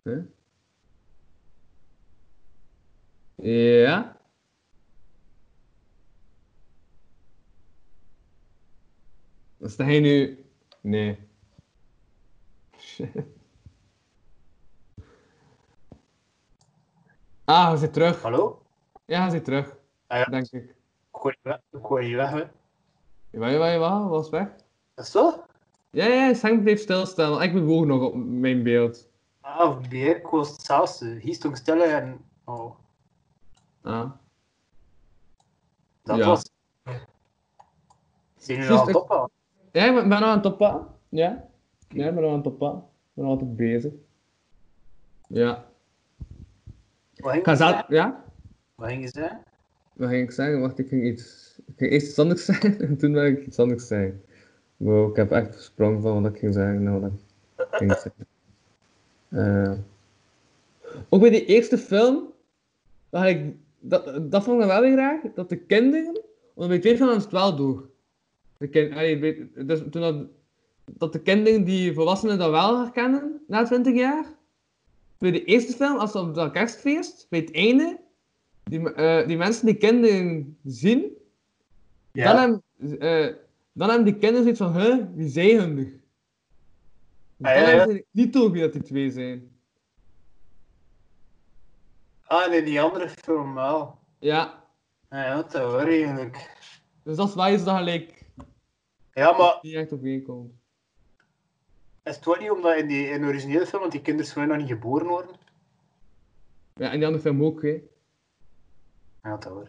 D: Huh? Ja? Is hij nu... Nee. Shit. Ah, hij zit terug.
C: Hallo?
D: Ja, hij zit terug.
C: Ah ja, ik
D: Denk ik.
C: hoor je weg- ik hoor je weg, hè.
D: Jawel, jawel, jawel. Was weg.
C: Is het zo?
D: Ja, ja, Sam bleef stilstaan, want ik bewoog nog op mijn beeld.
C: Ah, of beheer, ik was hetzelfde. eh, Hier stond ik stil en... Oh,
D: Ah.
C: dat
D: Ja.
C: was... Zijn jullie
D: Juist,
C: al top aan?
D: Ja, ik ben ben nog aan het toppen. Ja? Ja, ik ben nog aan het toppen. Ik ben nog altijd bezig. Ja.
C: Wat ging
D: Ik ga
C: je
D: zelf...
C: zeggen?
D: Ja?
C: Wat ging je zeggen?
D: Wat ging ik zeggen? Wacht, ik ging iets... Ik ging eerst iets anders [laughs] zeggen, en toen ben ik iets anders zeggen. Wow, ik heb echt gesprongen van wat ik ging zeggen, nou wat ik ging zeggen. Eh. Ook bij die eerste film, dat, ik, dat, dat vond ik wel weer raar, dat de kinderen, want bij de tweede film was het wel door. De kind, allee, weet- dus toen dat, dat de kinderen die volwassenen dan wel herkennen, na 20 jaar. Bij de eerste film, als ze op dat kerstfeest, bij het einde, die, me- eh, die mensen die kinderen zien, dan,
C: Ja?
D: hebben, eh, dan hebben die kinderen zoiets van, huh, wie zijn hun nu? Dus Dan
C: Ah, ja, ja.
D: hebben ze niet door wie dat die twee zijn.
C: Ah, nee, die andere film wel.
D: Ja,
C: Ja, Ja, dat hoor je eigenlijk.
D: dus dat is waar je ze dan gelijk
C: Ja, maar
D: niet echt op komt.
C: is het wel niet omdat in, die, in de originele film, want die kinderen zijn nog niet geboren worden?
D: Ja, en die andere film ook, hè.
C: Ja, dat hoor.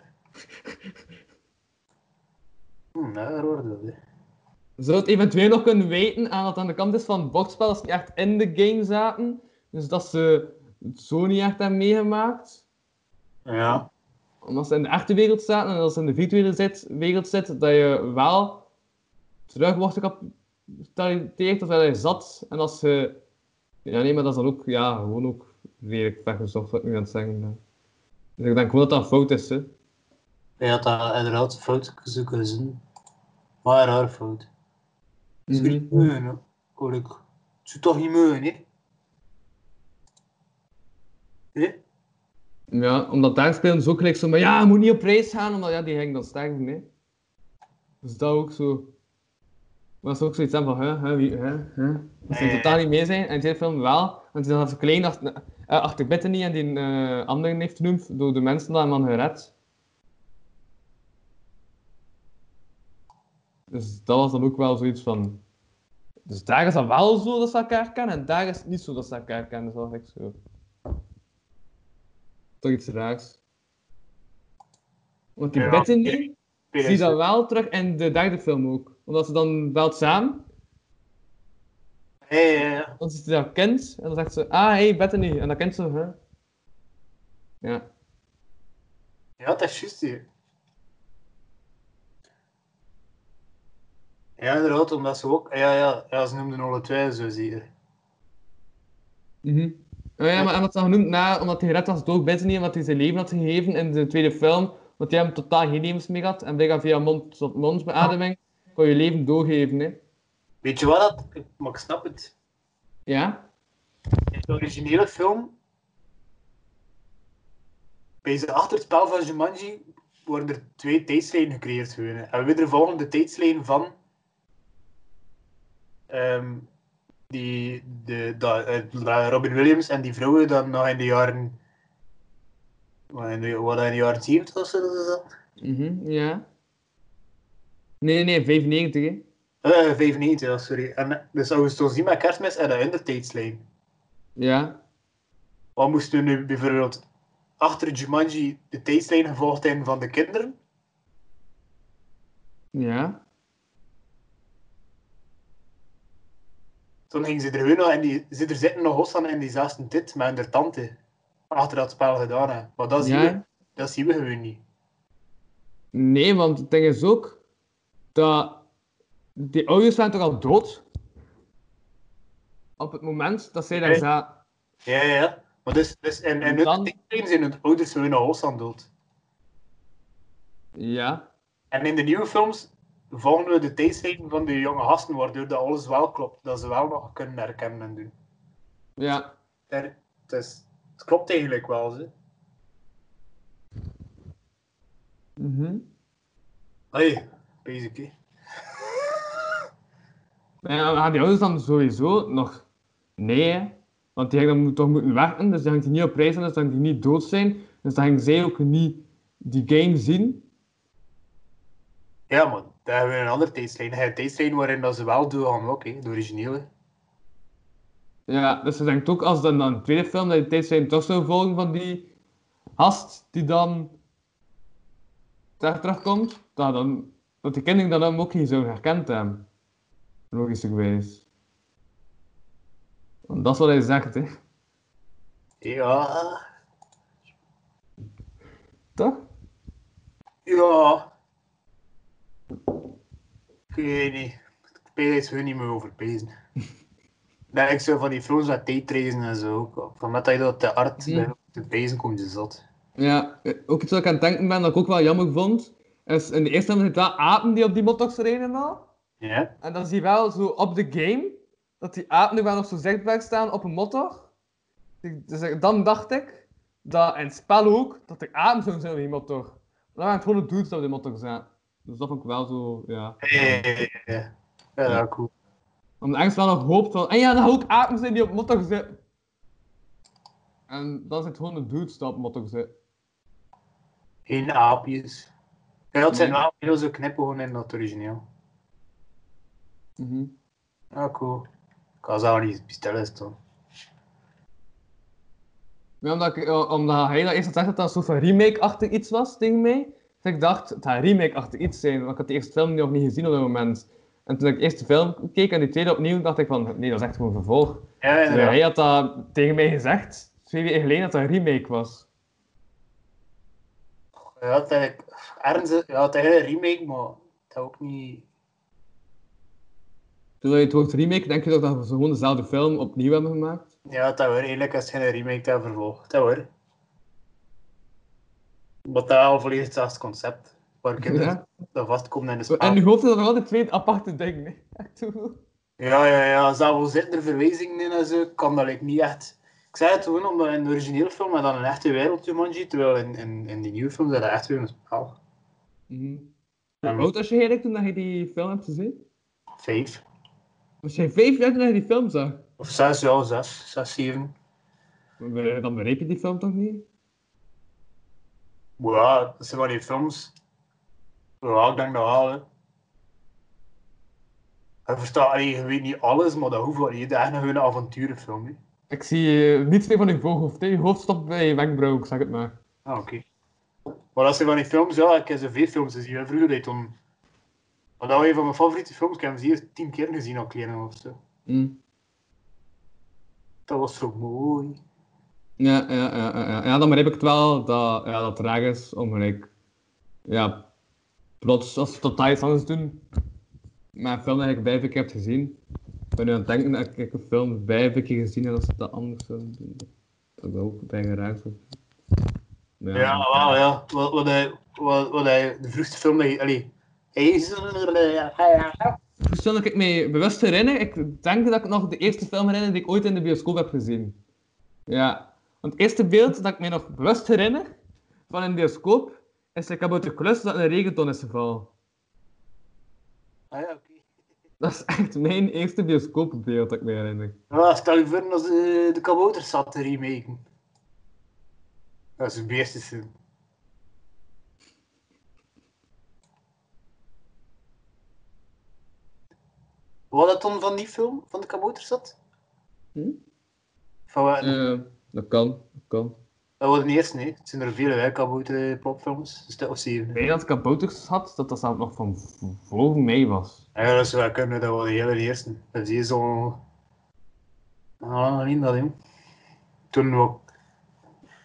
C: Hm, ja, daar hoorde dat. hè.
D: Zou het eventueel nog kunnen weten aan dat aan de kant is van het bordspel, dat ze niet echt in de game zaten, dus dat ze het zo niet echt hebben meegemaakt.
C: Ja.
D: Omdat ze in de echte wereld zaten en als ze in de virtuele zit, wereld zit, dat je wel terug wordt gecapitaliseerd of waar je zat. En als ze... Ja, nee, maar dat is dan ook, ja, gewoon ook redelijk weggezocht, wat ik nu aan het zeggen ben. Dus ik denk gewoon dat dat fout is, hè.
C: Hij had dat inderdaad fout zoeken gezien. Maar een rare fout. Dat zou je niet
D: Mhm.
C: meugen, hè. hoor ik. Dat zou toch niet meugen, hè? Hé?
D: Ja, omdat daar spelen ze ook gelijk zo maar ja, je moet niet op reis gaan, omdat ja, die ging dan sterven, hè. Dus dat ook zo. Maar ze ook zoiets hebben van, hè, hè, wie, hè, hè. Dat ze
C: Ah, Ja, ja,
D: totaal niet mee zijn, en die film wel. En die dan zo klein achter, eh, achter Bethany en die eh anderen heeft genoemd, door de mensen daar man gered. Dus dat was dan ook wel zoiets van, Dus daar is dat wel zo dat ze elkaar kennen en daar is het niet zo dat ze elkaar kennen. Dat is wel gek zo. Toch iets raars. Want die
C: Ja,
D: Bethany,
C: ik-
D: zie je dat wel terug in de derde film ook. Omdat ze dan belt samen,
C: Ja, ja, ja.
D: dan ziet ze dat kind en dan zegt ze, ah hey Bethany, en dat kind zo, hè. Ja.
C: Ja, dat is juist hier. Ja, inderdaad, omdat ze ook... Ja, ja, ja ze noemden alle twee zo, zie je.
D: Mhm. Oh ja, maar en dat is dan genoemd na, omdat hij gered was door Bethany, omdat hij zijn leven had gegeven in de tweede film, want hij hem totaal geen levens meer had, en blijkbaar via mond-tot-mond beademing kon je leven doorgeven, hè.
C: Weet je wat dat... ik- Maar ik snap het.
D: Ja?
C: In de originele film... Bij ze achter het spel van Jumanji worden er twee tijdslijnen gecreëerd. Gewoon, hè. en we de volgende tijdslijn van... ehm, die, de, dat, eh, dat Robin Williams en die vrouwen dan nog in de jaren... Wat in de, wat dat in de jaren 70 of zo dat is dat?
D: Mhm, ja. Nee, nee, 95, hè.
C: Eh, 95, ja, sorry. En, dus Augustus zien met kerstmis en dat in de tijdslijn.
D: Ja.
C: Wat moesten nu bijvoorbeeld achter Jumanji de tijdslijn gevolgd zijn van de kinderen?
D: Ja.
C: Toen gingen ze er gewoon nog en die, ze er zitten nog Hossan en die zaten dit met hun tante. Achter dat spel gedaan hebben. Maar dat zien,
D: Ja.
C: we, dat zien we gewoon niet.
D: Nee, want het ding is ook dat die ouders zijn toch al dood? Op het moment dat zij daar
C: Nee.
D: zaten.
C: Ja, ja, ja. Maar dus, dus en, en
D: En
C: hun
D: dan-
C: tijdslijn zijn hun ouders gewoon nog Hossan dood.
D: Ja.
C: En in de nieuwe films volgen we de tijdslijn van de jonge gasten, waardoor dat alles wel klopt. Dat ze wel nog kunnen herkennen en doen.
D: Ja.
C: Daar, het, is, het klopt eigenlijk wel, ze.
D: Mhm.
C: Hey, basic. hè.
D: Ja, maar gaan die ouders dan sowieso nog? Nee, hè. want die gaan dan toch moeten werken, dus dan gaan die niet op reis zijn, dus dan gaan die niet dood zijn. Dus dan gaan zij ook niet die game zien.
C: Ja, maar daar hebben we een andere tijdslijn. Hij een tijdslijn waarin dat ze wel doorgaan ook, hè, de originele.
D: Ja, dus ik denk ook als dan dan een tweede film dat je tijdslijn toch zou volgen van die gast die dan daar terugkomt, dat, dan, dat de kinderen dan hem ook niet zo herkend hebben. Logisch geweest. Want dat is wat hij zegt, hè.
C: Ja,
D: Toch?
C: ja. Ik weet niet. Ik ben er gewoon niet meer over bezig. [laughs] Dat ik zo van die films met tijdreizen en zo ook. Van dat je dat te hard
D: Mhm.
C: bij te bezig komt, je zat.
D: Ja, eh, ook iets wat ik aan het denken ben, dat ik ook wel jammer vond, is in de eerste film zit wel apen die op die mottox rijden en al.
C: Ja?
D: En dan zie je wel zo op de game, dat die apen nu wel nog zo zichtbaar staan op een motor. Dus ik- dan dacht ik, dat in het spel ook, dat er apen zouden zijn op die motor. Maar dan waren het gewoon de dudes op die motor zijn. Dus dat vond ik wel zo, ja.
C: Ja, ja, ja, ja. Ja, dat is cool.
D: Omdat ergens wel nog hoop van, en ja, dat ook apen zijn die op motor zitten. En dan zit gewoon de dudes die op motor zitten.
C: Geen aapjes. Ja, het zijn
D: Nee.
C: wel heel zo knippen in dat origineel.
D: Mhm.
C: Ja, cool. Ik ga ze al niet bestellen, toch?
D: Ja, omdat, ik, eh, omdat hij dat eerst had gezegd dat dat een soort van remake-achtig iets was tegen mij. Dus ik dacht, het gaat een remake-achtig iets zijn, want ik had de eerste film nog niet gezien op dat moment. En toen ik de eerste film keek en die tweede opnieuw, dacht ik van, nee, dat is echt gewoon een vervolg.
C: Ja,
D: Maar
C: inderdaad.
D: hij had dat tegen mij gezegd, twee weken geleden, dat dat een remake was.
C: Ja, het is eigenlijk ernstig. Ja, het is eigenlijk een remake, maar het is ook niet.
D: Toen je het woord remake, denk je toch dat we gewoon dezelfde film opnieuw hebben gemaakt?
C: Ja, dat hoor. Eigenlijk is het geen remake dat vervolgt. Dat hoor. Maar dat is al volledig hetzelfde concept. Waar kinderen
D: Ja.
C: dan vastkomen in de
D: En
C: spel.
D: nu hoofd is dat nog altijd twee aparte dingen, hè. [laughs] Echt zo.
C: Ja, ja, ja. Zelfs al zitten er verwijzingen in en zo, kan dat like, niet echt. Ik zei het gewoon omdat in de originele film en dan een echte wereld Jumanji, terwijl in, in, in die nieuwe film is dat echt weer een spel.
D: Mhm.
C: Ja,
D: Hoe oud was je eigenlijk toen dat je die film hebt gezien?
C: Vijf.
D: Was jij vijf jaar toen dat je die film zag?
C: Of zes, ja, zes. Zes, zeven.
D: Maar Dan begreep je die film toch niet?
C: Maar Ja, dat zijn wel die films. Ja, ik denk dat wel. hè. Je verstaat, allee, je weet niet alles, maar dat hoeft wel niet. Dat is echt nog een avonturenfilm. hè.
D: Ik zie eh, niets meer van uw voorhoofd. hè. Je hoofd stopt bij je wenkbrauw, ik zeg het maar.
C: Ah, oké. Maar dat zijn van die films, ja, ik heb zoveel films gezien. hè. Vroeger deed toen... Maar dat was een van mijn favoriete films. Ik heb hem zeker tien keer gezien al klein was of zo.
D: Hm.
C: Dat was zo mooi.
D: Ja, ja, ja, ja, ja. ja, dan begrijp ik het wel dat, ja, dat het raar is om gelijk, ja, plots als het totaal iets anders doen. Maar een film dat ik vijf keer heb gezien, ik ben nu aan het denken dat ik een film vijf keer gezien heb als ze dat anders zouden doen. Dat ik er ook bij geraakt word.
C: Ja, wel, ja. Wat, wat, hij- wat, wat hij- de vroegste film dat je... Allee... IJzer-
D: Dus toen ik me bewust herinner, ik denk dat ik nog de eerste film herinner die ik ooit in de bioscoop heb gezien. Ja, want het eerste beeld dat ik me nog bewust herinner van een bioscoop is de kabouterklus dat in een regenton is gevallen.
C: Ah ja, oké.
D: Dat is echt mijn eerste bioscoopbeeld dat ik me herinner.
C: Ja, stel je voor als eh, de, de kabouters zat te remaken. Dat is het beste film. Wat dat dan van die film, van de kabouters zat?
D: Hm?
C: Van, wat-
D: Eh, dat kan, dat kan.
C: Dat was de eerste, nee. Het zijn er vele, hè, kabouter-plopfilms. Een stuk of zeven.
D: Ik weet dat ik kabouters had, dat dat zelf nog van v- voor mij was.
C: Ja, dat zou wel kunnen, dat was de hele eerste. Dat is hier zo. Ah, alleen dat, jong. Toen ook.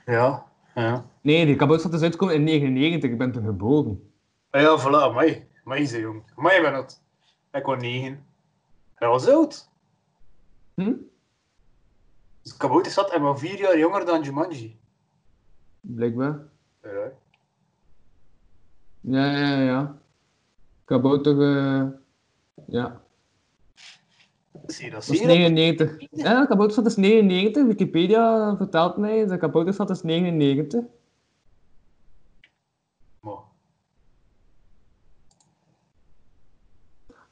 C: Ja, ja.
D: Nee, die kabouters is uitgekomen in 1999, ik ben toen geboren.
C: Ah Ja, voilà, mij. Mij is jong. Mij ben het. Ik was negen. Dat was oud.
D: Hm?
C: Dus Kabouter zat en maar vier jaar jonger dan Jumanji.
D: Blijkbaar.
C: Ja.
D: Ja, ja, ja. Kabouter, eh, ja.
C: Zie je dat?
D: Dat
C: Zie
D: is
C: je dat?
D: 99. Ja, de kabouterstad is 99. Wikipedia vertelt mij, de kabouterstad is 99.
C: Maar,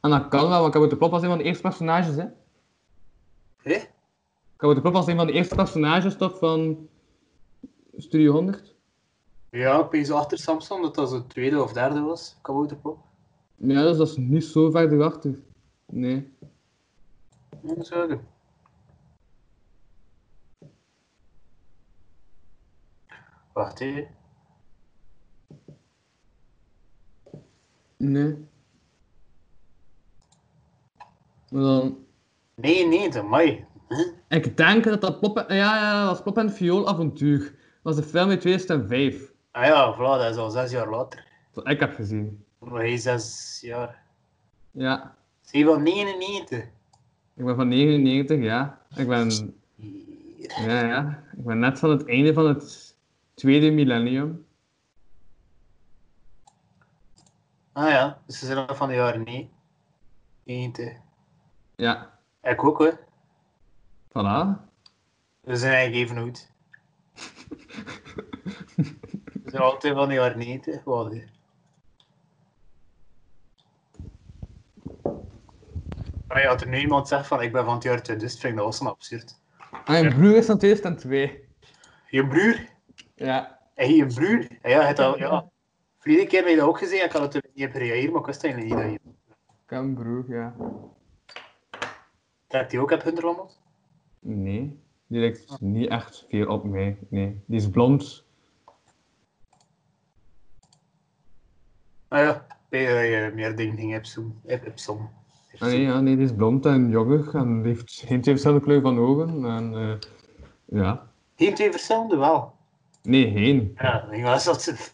D: En dat kan wel, want kabouterplop was een van de eerste personages, hè.
C: Hé?
D: Kabouterplop was een van de eerste personages, toch, van Studio 100?
C: Ja, ik ben zo achter Samson dat dat de tweede of derde was. Kabouterpop.
D: Ja, dus dat is niet zo verder achter. Nee.
C: Ja, dat zou ik doen. Wacht even.
D: Nee. Maar dan...
C: Nee, nee, dat mij.
D: Ik denk dat dat Plop... Ja, ja, ja, dat was Plop en Viool Avontuur. Dat was de film uit 2005.
C: Ah ja, voilà, dat is al zes jaar later.
D: Dat ik heb gezien.
C: Maar hij is zes jaar.
D: Ja.
C: Zie je wel 99?
D: Ik ben van 99, ja. Ik ben... Ja, ja. Ik ben net van het einde van het tweede millennium.
C: Ah ja, dus ze zijn al van de jaren nee. 90.
D: Ja.
C: Ik ook hoor.
D: Voilà. Ah,
C: We zijn eigenlijk even oud. We zijn altijd van de jaren 90 geworden. Maar ja, als er nu iemand zegt van ik ben van het jaar 2000, vind ik dat wel snap, absurd.
D: En mijn broer is van 2002.
C: Je broer?
D: Ja.
C: Hé, je broer? Ja, ja, het al, ja. Vorige keer heb je dat ook gezien, ik had het niet op gereageerd, maar ik wist eigenlijk niet dat je
D: Ik heb een broer, ja.
C: dat die ook hebt hunderlammeld.
D: Nee, die lijkt niet echt veel op mij. Nee, die is blond.
C: Ah ja, ik denk dat je meer dingen ging opzoeken. Op- opzommen.
D: Ah, nee, ja, nee, die is blond en joggig en die heeft geen twee verschillende kleur van ogen. En, eh, ja.
C: Geen twee verschillende wel.
D: Nee, geen.
C: Ja, ik denk wel eens dat ze...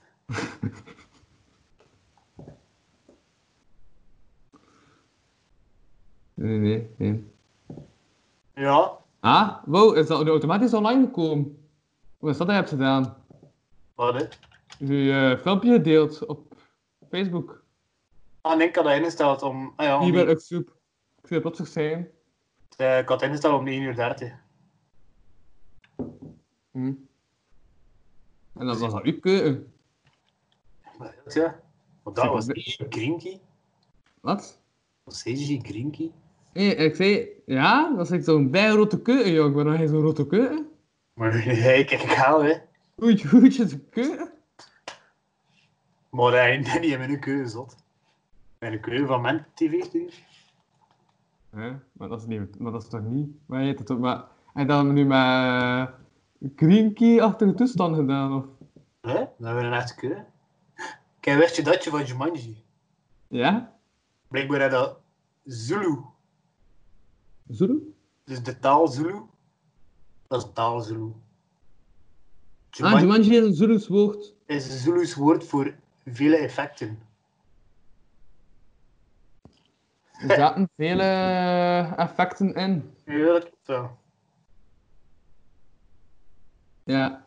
D: Nee, nee, geen.
C: Ja,
D: Ah, wow, is dat nu automatisch online gekomen? Wat is dat dat je hebt gedaan?
C: wat hè?
D: Je eh, filmpje gedeeld op Facebook.
C: Ah, nee, ik had dat ingesteld om... Ah ja, om
D: Hier ben
C: die-
D: ik soep. Ik zou plotsig zijn.
C: eh, ik had het ingesteld om 9.30 uur.
D: Hm. En dat was dat uw keuze.
C: Ja. Want dat
D: Super.
C: was CG Grinky.
D: Wat?
C: Was CG Grinky?
D: Nee, ik zei, ja, dat is zo'n bij rotte keuken, jong. Waarom heb je zo'n rotte keuken?
C: Maar [laughs] hey, kijk, ik haal hè.
D: Goed, goed, je de keuken.
C: [laughs] Maar hij uh, niet in mijn keuze zat. Mijn keuze van mijn tv stuur.
D: Hè? Maar, dat is niet, maar dat is toch niet... Maar je hebt het ook maar... En dan hebben we nu met Green Key-achtige toestand gedaan, of...
C: Hè? Dat hebben we een echte keur. Kijk, wist je dat je van Jumanji?
D: Ja?
C: Blijkbaar had dat Zulu.
D: Zulu?
C: Dus de taal Zulu. Dat is taal Zulu.
D: Ah,
C: Jumanji
D: Jumanji is een Zulus woord.
C: is een Zulu's woord voor vele effecten.
D: Er zaten vele eh, effecten in.
C: Ja, dat klopt wel.
D: Ja.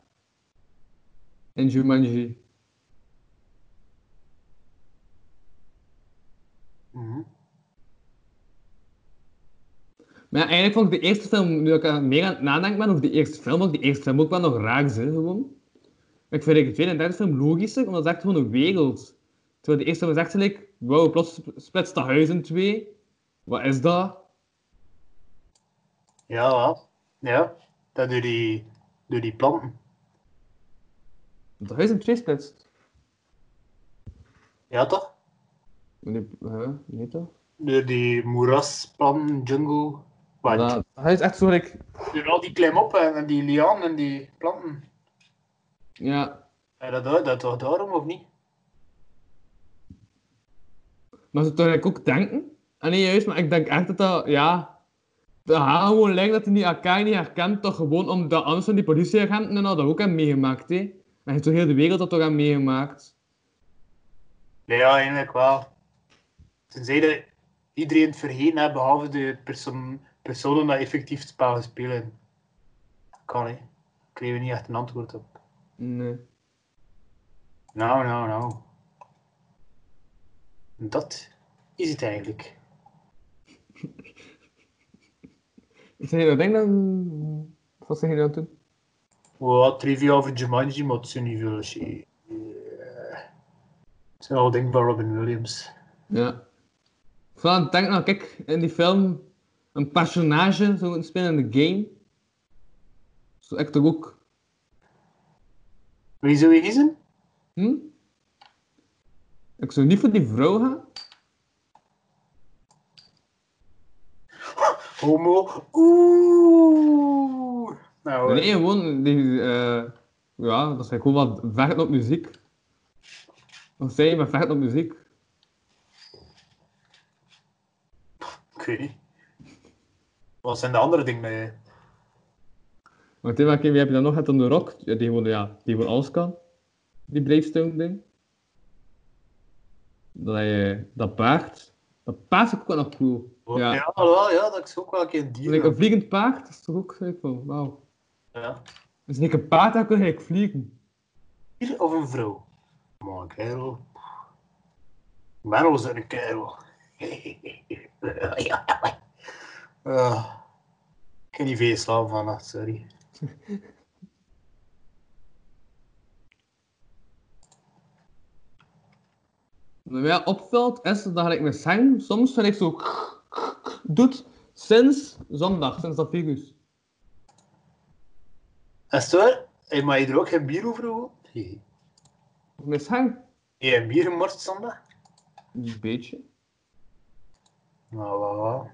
D: In Jumanji.
C: Mhm.
D: Maar ja, eigenlijk vond ik de eerste film, nu ik er meer aan het nadenken ben over de eerste film, vond ik de eerste film ook wel nog raar zijn, gewoon. Ik vind eigenlijk de tweede en derde film logischer, omdat het echt gewoon een wereld. Terwijl de eerste film is echt gelijk, wow, plots splitst de huis in twee. Wat is dat?
C: Ja, wel. Ja, dat door die, door die planten.
D: Dat de huis in twee splitst.
C: Ja, toch?
D: Nee, hè? nee toch?
C: Door die moerasplanten, jungle. Wat?
D: Dat, dat huis is echt zo, like,
C: Door al die klimop en, en die lianen en die planten.
D: ja.
C: Ja, dat, dat, dat was daarom, of niet?
D: Maar ze toch eigenlijk ook denken? Ah nee, juist, maar ik denk echt dat dat, ja... Dat haar gewoon lijkt dat hij die elkaar niet herkent, toch gewoon omdat anders van die politieagenten en al dat ook hebben meegemaakt, hè. En hij heeft toch heel de wereld dat toch aan meegemaakt.
C: Nee, Ja, eigenlijk wel. Tenzij dat iedereen het vergeten heeft, behalve de perso- personen die effectief het spel spelen. Kan, hè. Kregen we niet echt een antwoord op.
D: Nee.
C: Nou, nou, nou. Dat is het eigenlijk.
D: Zeg je dat ding dan... Wat zeg je dan toen?
C: Wat trivia over Jumanji, maar het zijn niet veel. shit. Eh, Het zijn al dingen van Robin Williams.
D: Ja. Vooral denk nou, kijk, in die film een personage zou moeten spelen in de game. Zo ik toch ook...
C: Wie zou je kiezen?
D: Hm? Ik zou niet voor die vrouw gaan.
C: Homo. Oeh. Nou, eh,
D: Nee, gewoon, die, eh, ja, dat zijn gewoon wat vechten op muziek. Wat zei je met vechten op muziek?
C: ik weet niet. Wat zijn de andere dingen? eh?
D: Want dit keer, wie heb je dan nog gehad aan de rock? Ja, die gewoon, ja, die gewoon alles kan. Die Bravestone ding. Dat, hij, eh, dat paard. Dat paard is ook wel nog cool.
C: Wat-
D: ja.
C: Oh, Ja, wel, ja, dat is ook wel een keer een dier.
D: Like, een vliegend paard, dat is toch ook gelijk van, wauw.
C: Ja.
D: Dus niet een paard, dan kun je eigenlijk vliegen.
C: Dier of een vrouw? Maar een kerel. Waarom is dat een kerel? [laughs] Ah, ik kan niet veel slapen vannacht, sorry.
D: Wat mij opvalt is dat ik met zang soms vind ik zo doet sinds zondag, sinds dat virus.
C: Is het waar? Hey, maar je er ook geen bier over gewoon? Nee.
D: Met zang?
C: Je hebt bier gemorst zondag?
D: Een beetje.
C: Nou, wel, wel.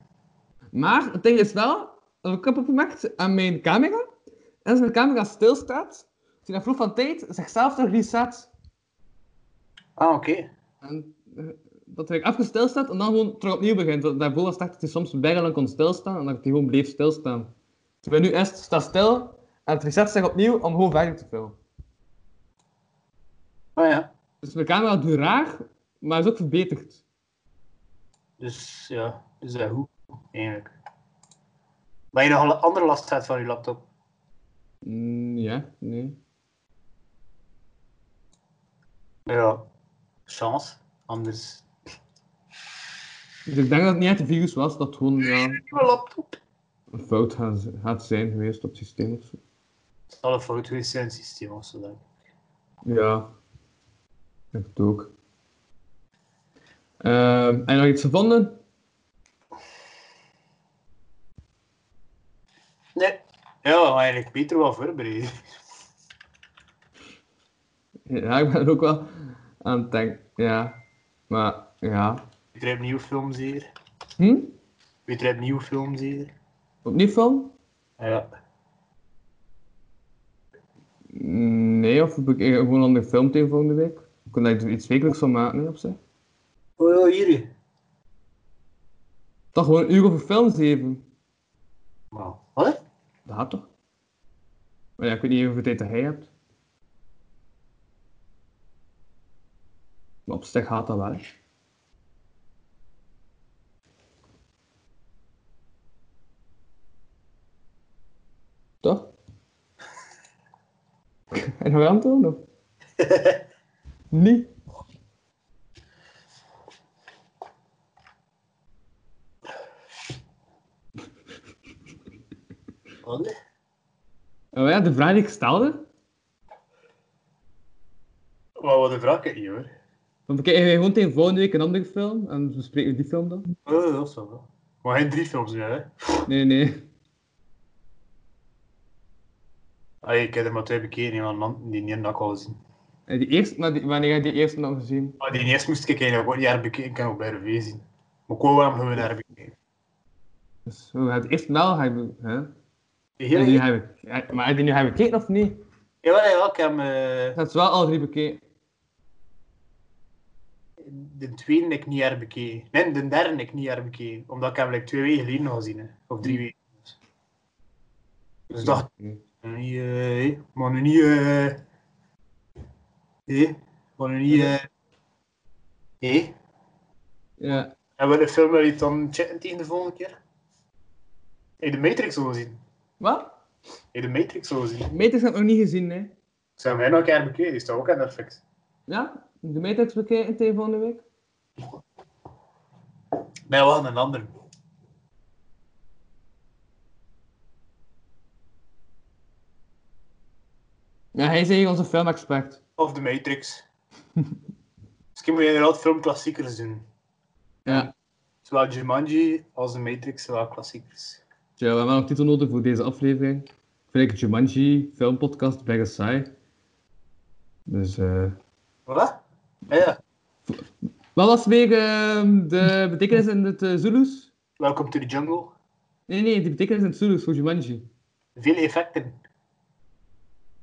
D: Maar het ding is wel, wat ik heb opgemerkt aan mijn camera, en als mijn camera stilstaat, die na verloop van tijd zichzelf terug reset.
C: Ah, oké.
D: En eh, dat hij even stilstaat en dan gewoon terug opnieuw begint. Want daarvoor was het echt dat hij soms bijna lang kon stilstaan en dat hij gewoon bleef stilstaan. Terwijl nu eerst staat stil en het reset zich opnieuw om gewoon verder te filmen.
C: Ah ja.
D: Dus mijn camera doet raar, maar is ook verbeterd.
C: Dus ja, dus dat is goed, eigenlijk. Maar je nog een andere last hebt van je laptop.
D: Mm, ja, nee.
C: Ja. Chance. Anders.
D: Dus ik denk dat het niet echt een virus was, dat het gewoon ja,
C: Nieuwe laptop.
D: een fout gaat gaat zijn geweest op het systeem of zo.
C: Het zal een fout geweest zijn in het systeem of zo, denk ik.
D: Ja, ik het ook. Ehm en nog iets gevonden?
C: Nee. Ja, maar eh, eigenlijk beter wel voorbereid.
D: Ja, [laughs] ik ben er ook wel aan het denken. Ja, maar ja.
C: Beter hebt nieuwe films hier.
D: Hm?
C: Weet je, hij heeft nieuwe films hier.
D: Opnieuw film?
C: Ja.
D: Nee, of heb ik eh, gewoon een andere film tegen volgende week? Ik kan daar iets wekelijks van maken, nee, op zich.
C: Oh ja, hier.
D: Toch gewoon een uur over films geven.
C: Maar, wat?
D: Dat gaat toch? Maar ja, ik weet niet hoeveel tijd dat hij hebt. Maar op zich gaat dat wel. hè. Toch? [laughs] en nog antwoord nog? niet.
C: Wat?
D: Oh ja, de vraag die ik stelde.
C: Maar wat een vraag hier hoor.
D: Want we kijken gewoon tegen volgende week een andere film. En we spreken die film dan.
C: Oh, dat is wel wel. Maar geen drie films meer, hè?
D: Nee, nee.
C: Allee, ik heb er maar twee bekeken, want man, die neer dat ik al gezien.
D: En die eerste, maar die, wanneer heb je die eerste nog gezien?
C: Maar die eerst moest ik eigenlijk ook niet herbekeken, ik kan ook bij de zien. Maar ik wou hem gewoon herbekeken.
D: Dus we hebben het eerst wel hebben. Hè? En die
C: Heel,
D: heb ik- ja, maar heb je die nu hebben bekeken of niet?
C: ja, ja, ik heb eh,
D: Dat is wel al drie bekeken.
C: de tweede ik niet herbekeken. Nee, de derde ik niet herbekeken. Omdat ik hem like, twee weken geleden nog gezien heb. Of drie weken. Dus dacht ik, niet, eh, eh, maar nu niet... eh, eh, maar nu niet... eh, eh.
D: Ja.
C: En welke film wil je dan chatten tegen de volgende keer? Heb je de Matrix al gezien?
D: Wat?
C: Heb je de Matrix al gezien?
D: Matrix heb ik nog niet gezien, hè?
C: Zijn wij nog een keer bekeken? Die staat ook aan Netflix.
D: Ja? De Matrix bekeken tegen volgende week?
C: Nee, wel een ander.
D: Ja, hij is eigenlijk onze filmexpert.
C: Of de
D: [laughs]
C: Matrix. Misschien moet je inderdaad filmklassiekers doen.
D: Ja.
C: Zowel Jumanji als de Matrix zijn wel klassiekers.
D: Tja, we hebben wel een titel nodig voor deze aflevering. Ik vind het Jumanji, filmpodcast, Black Sai. Dus, eh.
C: Wat? Ja, ja.
D: Wat was weer ehm, de betekenis in het eh, Zulus?
C: Welcome to the Jungle.
D: Nee, nee, de betekenis in het Zulus voor Jumanji.
C: Veel effecten.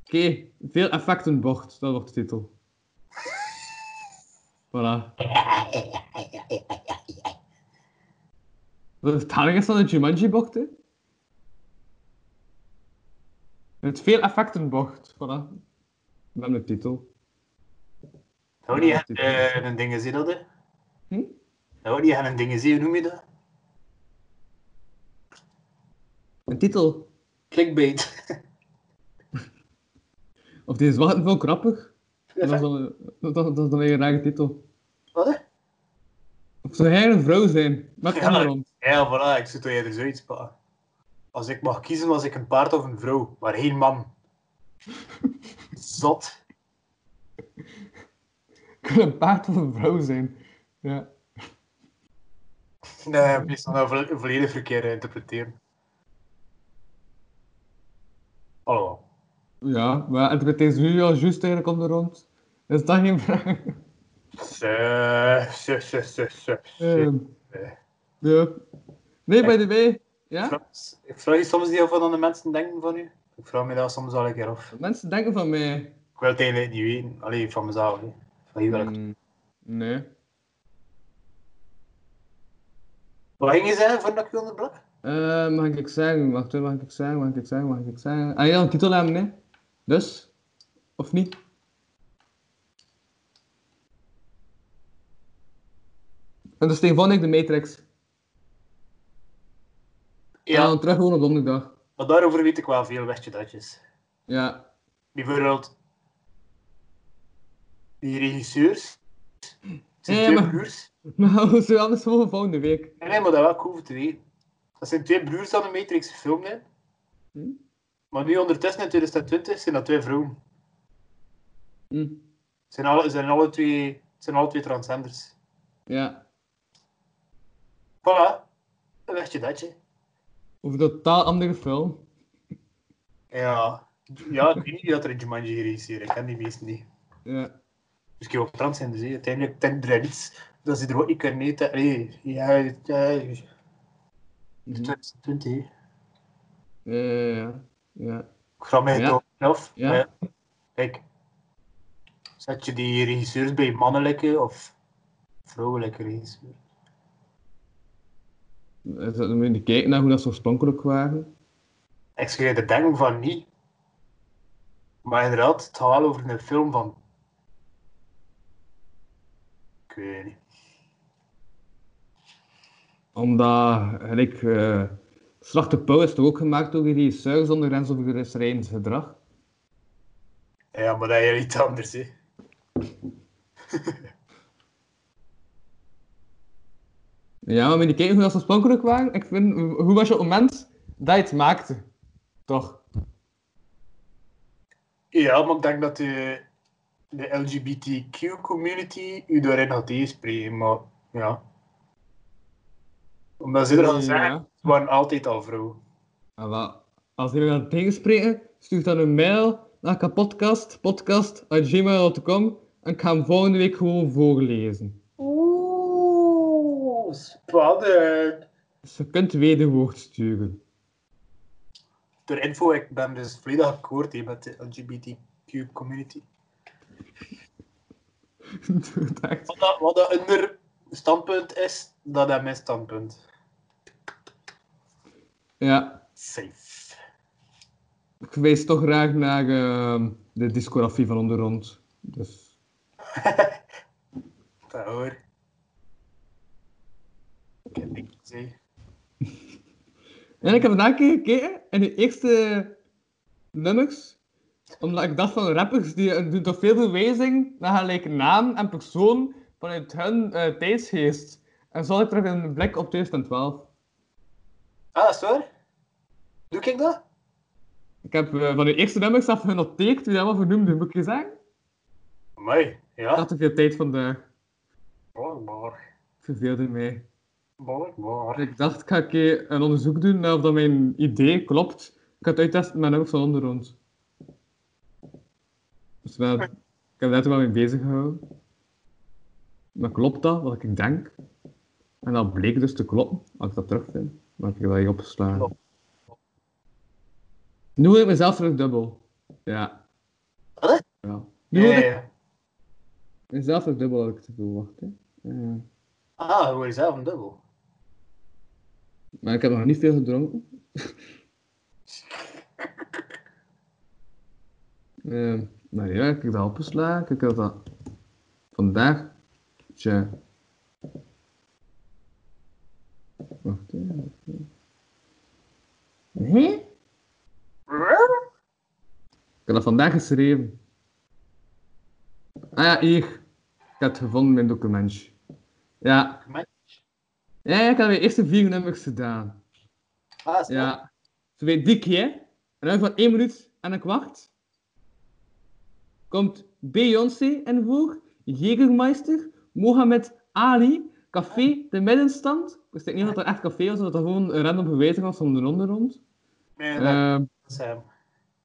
D: Oké, veel effectenbocht, dat wordt de titel. [laughs] Voilà. De vertaling is van de Jumanji-bocht, hè? Het veel effectenbocht, voilà. Dat is de titel.
C: Tony had eh, een ding gezien, dat hè?
D: Hm?
C: Tony had een ding gezien, hoe noem je dat?
D: Een titel.
C: Clickbait.
D: Of die is wel veel grappig. Dat is dan, dat, dat, dat is dan weer een rare titel.
C: [laughs] Wat? hè?
D: Of zou hij een vrouw zijn?
C: [laughs]
D: Met
C: Ja.
D: onderhand.
C: Ja, voilà, ik zit dat jij er zoiets pa. Als ik mag kiezen, was ik een paard of een vrouw, maar geen
D: [laughs]
C: man. Zot.
D: Kan een paard of een vrouw zijn? Ja.
C: Nee, wees dan nou vo- volledig verkeerd interpreteren. Hallo.
D: Ja, maar interpreteer ze nu al juist eigenlijk om de rond. Is dat geen vraag?
C: Se, se, se, se, se.
D: Ehm, ja. Nee, by the way. Ja?
C: Frans, Ik vraag je soms niet af wat dan de mensen denken van u. Ik vraag me dat soms al een keer af.
D: Mensen denken van mij.
C: Ik wil het eigenlijk niet weten, alleen van mezelf. hè. Van je welk.
D: Mm, nee.
C: Wat ging je zeggen voordat ik je onderbrak?
D: Eh, mag ik zeggen? Wacht even, mag ik zeggen? Mag ik zeggen? Mag ik zeggen? Ah ja, een titel hebben, nee. Dus? Of niet? En dus tegen ik de Matrix. Ja.
C: Ja,
D: terug gewoon op donderdag.
C: maar daarover weet ik wel veel, wist je datjes.
D: Ja. [laughs]
C: bijvoorbeeld die regisseurs. Het zijn
D: Ja,
C: twee
D: maar-
C: broers.
D: Maar we zullen Nou, anders voor volgende week.
C: Nee, nee, maar dat wel cool te weten. Dat zijn twee broers die de Matrix gefilmd hebben.
D: Hm?
C: Maar nu ondertussen in 2020 zijn dat twee vrouwen.
D: Hm.
C: Zijn alle, zijn alle twee, zijn alle twee transgenders.
D: Ja.
C: Voilà. Dan wist je dat, je.
D: Over een totaal andere film.
C: Ja. Ja, ik weet niet wie dat er in Jumanji geregisseerd heeft. Ik ken die meesten niet. Dus
D: Ja.
C: Misschien ook transgenders, hè. Uiteindelijk ten er iets dat ze er ook niet kunnen eten. Allee, ja, ja, 2020.
D: Ja, ja, ja, ja.
C: Ik ga mij
D: Ja.
C: toch af.
D: Ja.
C: Ja. Kijk, zet je die regisseurs bij mannelijke of vrouwelijke regisseur?
D: Is dat- Dan moet je kijken naar hoe dat ze oorspronkelijk waren.
C: Ik zou er denken van niet. Maar inderdaad, het gaat wel over een film van. Ik weet niet.
D: Omdat, gelijk, eh Slag de Pauw is toch ook gemaakt door die regisseur zonder grens over grensoverschrijdend gedrag.
C: Ja, maar dat is iets anders, hè.
D: Ja, maar moet je kijken hoe dat ze oorspronkelijk waren. Ik vind, hoe was je op het moment dat je het maakte? Toch?
C: Ja, maar ik denk dat de, de LGBTQ-community u daarin gaat tegenspreken, maar ja. Omdat ze er al
D: Ja.
C: zeggen, het waren altijd al vrouwen.
D: Ah, wel. Als jullie dan tegenspreken, stuur dan een mail naar kapotkast, podcast.gmail.com en ik ga hem volgende week gewoon voorlezen.
C: Oeh, spannend.
D: Dus je kunt wederwoord sturen.
C: Ter info, ik ben dus volledig akkoord hè, met de LGBTQ-community.
D: Doe het echt.
C: Wat dat, wat dat onder standpunt is, dat is mijn standpunt.
D: Ja,
C: Safe.
D: ik wijs toch graag naar ehm, de discografie van onder ons. Dus,
C: Dat hoor. Ik heb niks gezegd.
D: en ik heb vandaag een keer gekeken en de eerste nummers, omdat ik dacht van rappers die eh, doen toch veel verwijzing naar gelijk naam en persoon vanuit hun eh, tijdsgeest. En zo had ik terug een blik op 2012.
C: Ah, is het waar? Doe ik dat?
D: Ik heb eh, van de eerste nummers zelf genoteerd wie dat wel vernoemde, moet ik je zeggen?
C: Mooi,
D: Ik
C: ja.
D: had te veel tijd vandaag.
C: Blijkbaar.
D: Ik verveelde mij.
C: Blijkbaar.
D: Ik dacht, ik ga een keer een onderzoek doen naar of dat mijn idee klopt. Ik ga het uittesten met nummers van onder ons. Dus wel, ik heb daar toen wel mee bezig gehouden. Maar klopt dat, wat ik denk? En dat bleek dus te kloppen, als ik dat terugvind. Maar ik heb dat hier opgeslagen.
C: Klopt.
D: Nu hoor ik mezelf terug dubbel. Ja.
C: Wat?
D: Ja. Nu hoor
C: Ja,
D: ik
C: ja.
D: Mezelf ook dubbel had ik te veel wacht, hè. Eh. Ja.
C: Ah, hoe is dat een dubbel?
D: maar ik heb nog niet veel gedronken. Ehm maar ja, ik heb dat opgeslagen. Ik heb dat vandaag. Tja. Wacht even. Hé? Ik heb dat vandaag geschreven. Ah ja, hier. Ik heb het gevonden, mijn documentje. Ja, Ja, ja, ik had mijn eerste vier nummers gedaan.
C: Ah, is ja.
D: Ja. Twee dik, hè? En dan van 1 minuut en een kwart komt Beyoncé en voor, Jägermeister, Mohamed Ali, Café de Middenstand. Ik weet niet of dat er echt café was, of dat dat gewoon een random verwijzing was van de ronde rond.
C: Nee, dat
D: Ehm
C: is hem.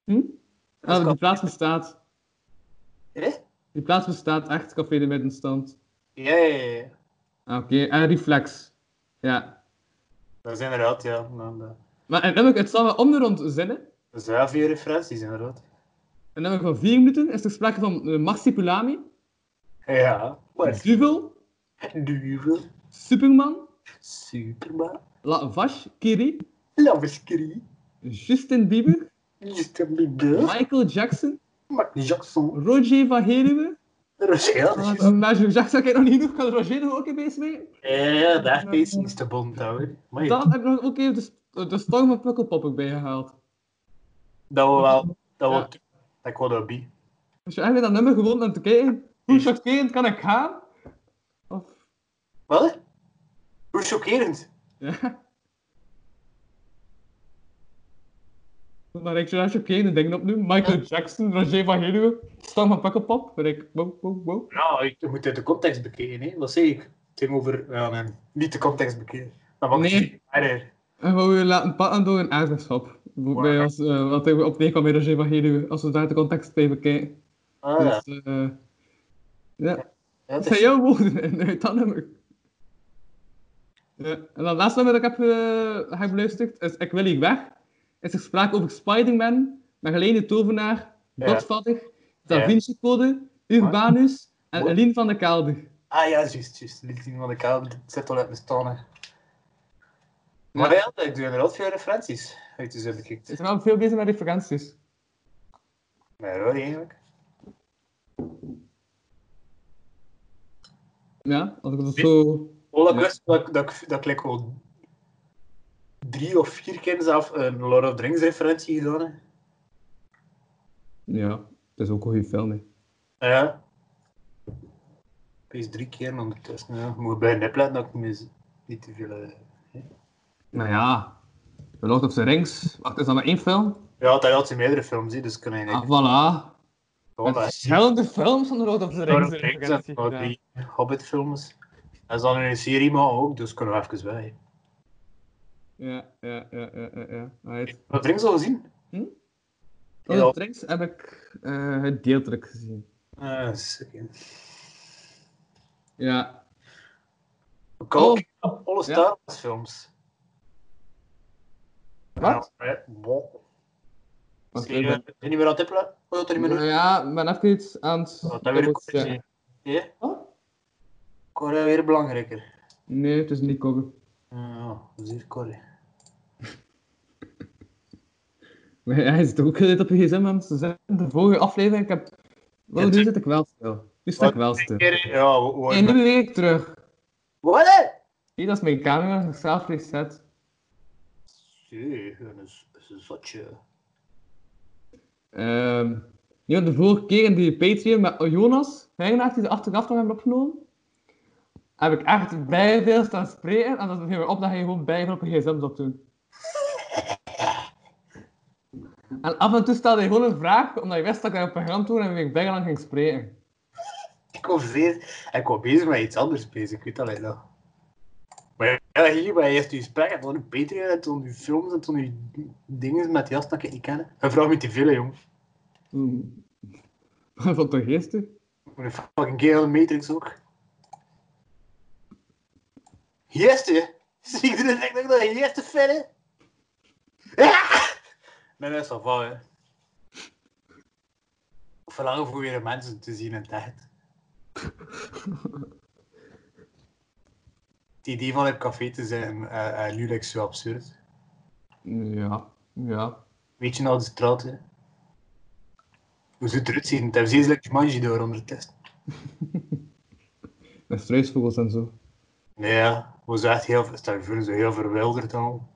D: hm?
C: Dat is
D: Ah, die plaats bestaat.
C: Eh?
D: Die plaats bestaat echt, Café de Middenstand.
C: Ja, ja, ja.
D: Ah, Oké, en Reflex. Ja.
C: Dat is inderdaad, ja. Nou, dat-
D: Maar en nummer, het zal wel om de rond zinnen.
C: Dat is wel veel referenties, inderdaad.
D: Een nummer van 4 minuten is er sprake van uh, Marsipulami,
C: Ja. Wat?
D: Duvel,
C: Duvel.
D: Superman,
C: Superman.
D: La Vache, Kiri,
C: Laveskri.
D: Justin Bieber,
C: Justin Bieber.
D: Michael Jackson,
C: Michael Jackson.
D: Roger van Heerden.
C: Rochelle.
D: Ah, dat- Maar Michael Jackson heb ik nog niet genoeg, kan Roger nog ook een beetje mee.
C: Ja, daar is iets te bond, hoor. Maar
D: Dan heb ik nog ook even de, st- de storm van Pukkelpop erbij gehaald.
C: dat we wel... Dat we...
D: Ja.
C: Dat ik wel dat bij.
D: Dus je eigenlijk dat nummer gewoon om te kijken, hoe chockerend kan ik gaan? Of,
C: Wat? Hoe chockerend.
D: ja. [laughs] Maar ik zou daar chockerende dingen op doen. Michael Jackson, Roger van Heerden, storm van Pukkelpop. Ben ik, wow, wow, wow.
C: Nou, ik- je moet uit de context bekijken, hè. Wat zei ik? Tegenover... Ja, man. Niet de context bekijken. Dan mag
D: Nee.
C: ik verder.
D: En we willen laten pakken door een aardbeidschap. Waarbij als, eh, wat ik op neerkwam bij Roger van Heerden, als we daar de context bij bekijken.
C: Ah, ja.
D: Dus, eh, ja.
C: Ja,
D: Dat
C: het
D: zijn
C: is-
D: [laughs] jouw woorden in uit dat nummer. Ja, en dan laatste nummer dat ik heb, eh, heb beluisterd is Ik wil hier weg. Is er sprake over Spider-Man, Marlene Tovenaar,
C: Ja.
D: Godfather, Da
C: Ja.
D: Vinci Code, Urbanus en
C: Wat?
D: Eline van de Kelder.
C: Ah ja, juist, juist. Lied zien van de kamer, dat zit al uit mijn stonen. Maar
D: Ja.
C: ja, ik doe inderdaad veel referenties uit de zin gekeken.
D: Is er wel veel bezig met referenties.
C: Maar hoor, eigenlijk.
D: Ja, als ik dat
C: Wie-
D: zo...
C: Ola
D: Ja.
C: Quest, dat, ik- dat, ik- dat ik like al drie of vier keer zelf een Lord of the Rings referentie gedaan heb.
D: Ja, het is ook een goede film. hè.
C: Ah Ja. Wees drie keer ondertussen. Ja. Moet bij net letten dat ik mis- niet te veel. eh,
D: Maar Nou ja, The Lord of the Rings. Wacht, is dat maar één film?
C: Ja, dat had ze meerdere films, hè, dus kunnen hij
D: Ah,
C: niet.
D: voilà.
C: Gewoon dat-
D: Verschillende films van The Lord of the
C: Lord
D: Rings.
C: of the Rings en
D: referentie
C: al
D: gedaan.
C: die Hobbit-films. En ze dan in een serie maar ook, dus kunnen we even bij.
D: Ja, ja, ja, ja, ja. ja. Alright.
C: Lord of the Rings al gezien?
D: Lord of the Rings heb ik eh, het deeltelijk gezien.
C: Ah, zeker.
D: Ja.
C: Ik ook. Alle Star Wars films.
D: Wat?
C: Ja, ja, bon.
D: Wacht,
C: Zie
D: ik
C: je,
D: ben-
C: ben je niet meer aan het oh, tippelen? Hoe dat er niet meer
D: Nou ja, ik ben even iets aan het...
C: Oh, Dat is eh, weer een koffertje. Ja?
D: Wat?
C: Corrie weer belangrijker.
D: Nee, het is niet koken.
C: Ja, dat is hier Corrie.
D: Maar Hij zit ook dit op je gsm om te zeggen. De vorige aflevering, ik heb... Wow, nu zit ik wel stil. Nu
C: Oh,
D: sta ik wel stil.
C: Corrie, Ja, wo- wo-
D: En nu weer ik terug.
C: Wat? hè?
D: Hier, dat is mijn camera, zichzelf reset.
C: Jee, dat is dat is een zotje.
D: Ehm ja, de vorige keer in die Patreon met Jonas, Hengenaert, die de achteraf nog hebben opgenomen, heb ik echt bij veel staan spreken. En dat ging weer op dat je gewoon bij veel op je gsm zat doen. En af en toe stelde je gewoon een vraag, omdat je wist dat ik daar op een gram toe en weer bij lang ging spreken.
C: Ik was, bezig, ik was bezig met iets anders bezig, ik weet dat alleen nog. Maar ja, hier ben je eerst je gesprek en toen je Patreon en toen je films en toen je dingen met jas dat ik niet ken. Een vraag met te veel, hè, jong.
D: Hmm. [laughs] Wat vond toch geestig?
C: Moet een fucking kerel Matrix ook. Jeste! [laughs] Zie ik er direct nog dat je jeste verder? Ja! Nee, dat is wel van, hè. Verlangen voor weer mensen te zien in het echt. [laughs] Het idee van het café te zijn, eh eh, nu lijkt zo absurd.
D: Ja, ja.
C: Weet je nou de straat, hè? Hoe ze eruit zien? Het heeft steeds like Jumanji door onder de test.
D: Met struisvogels en zo.
C: Ja, was echt heel, stel je voor, zo heel verwilderd al.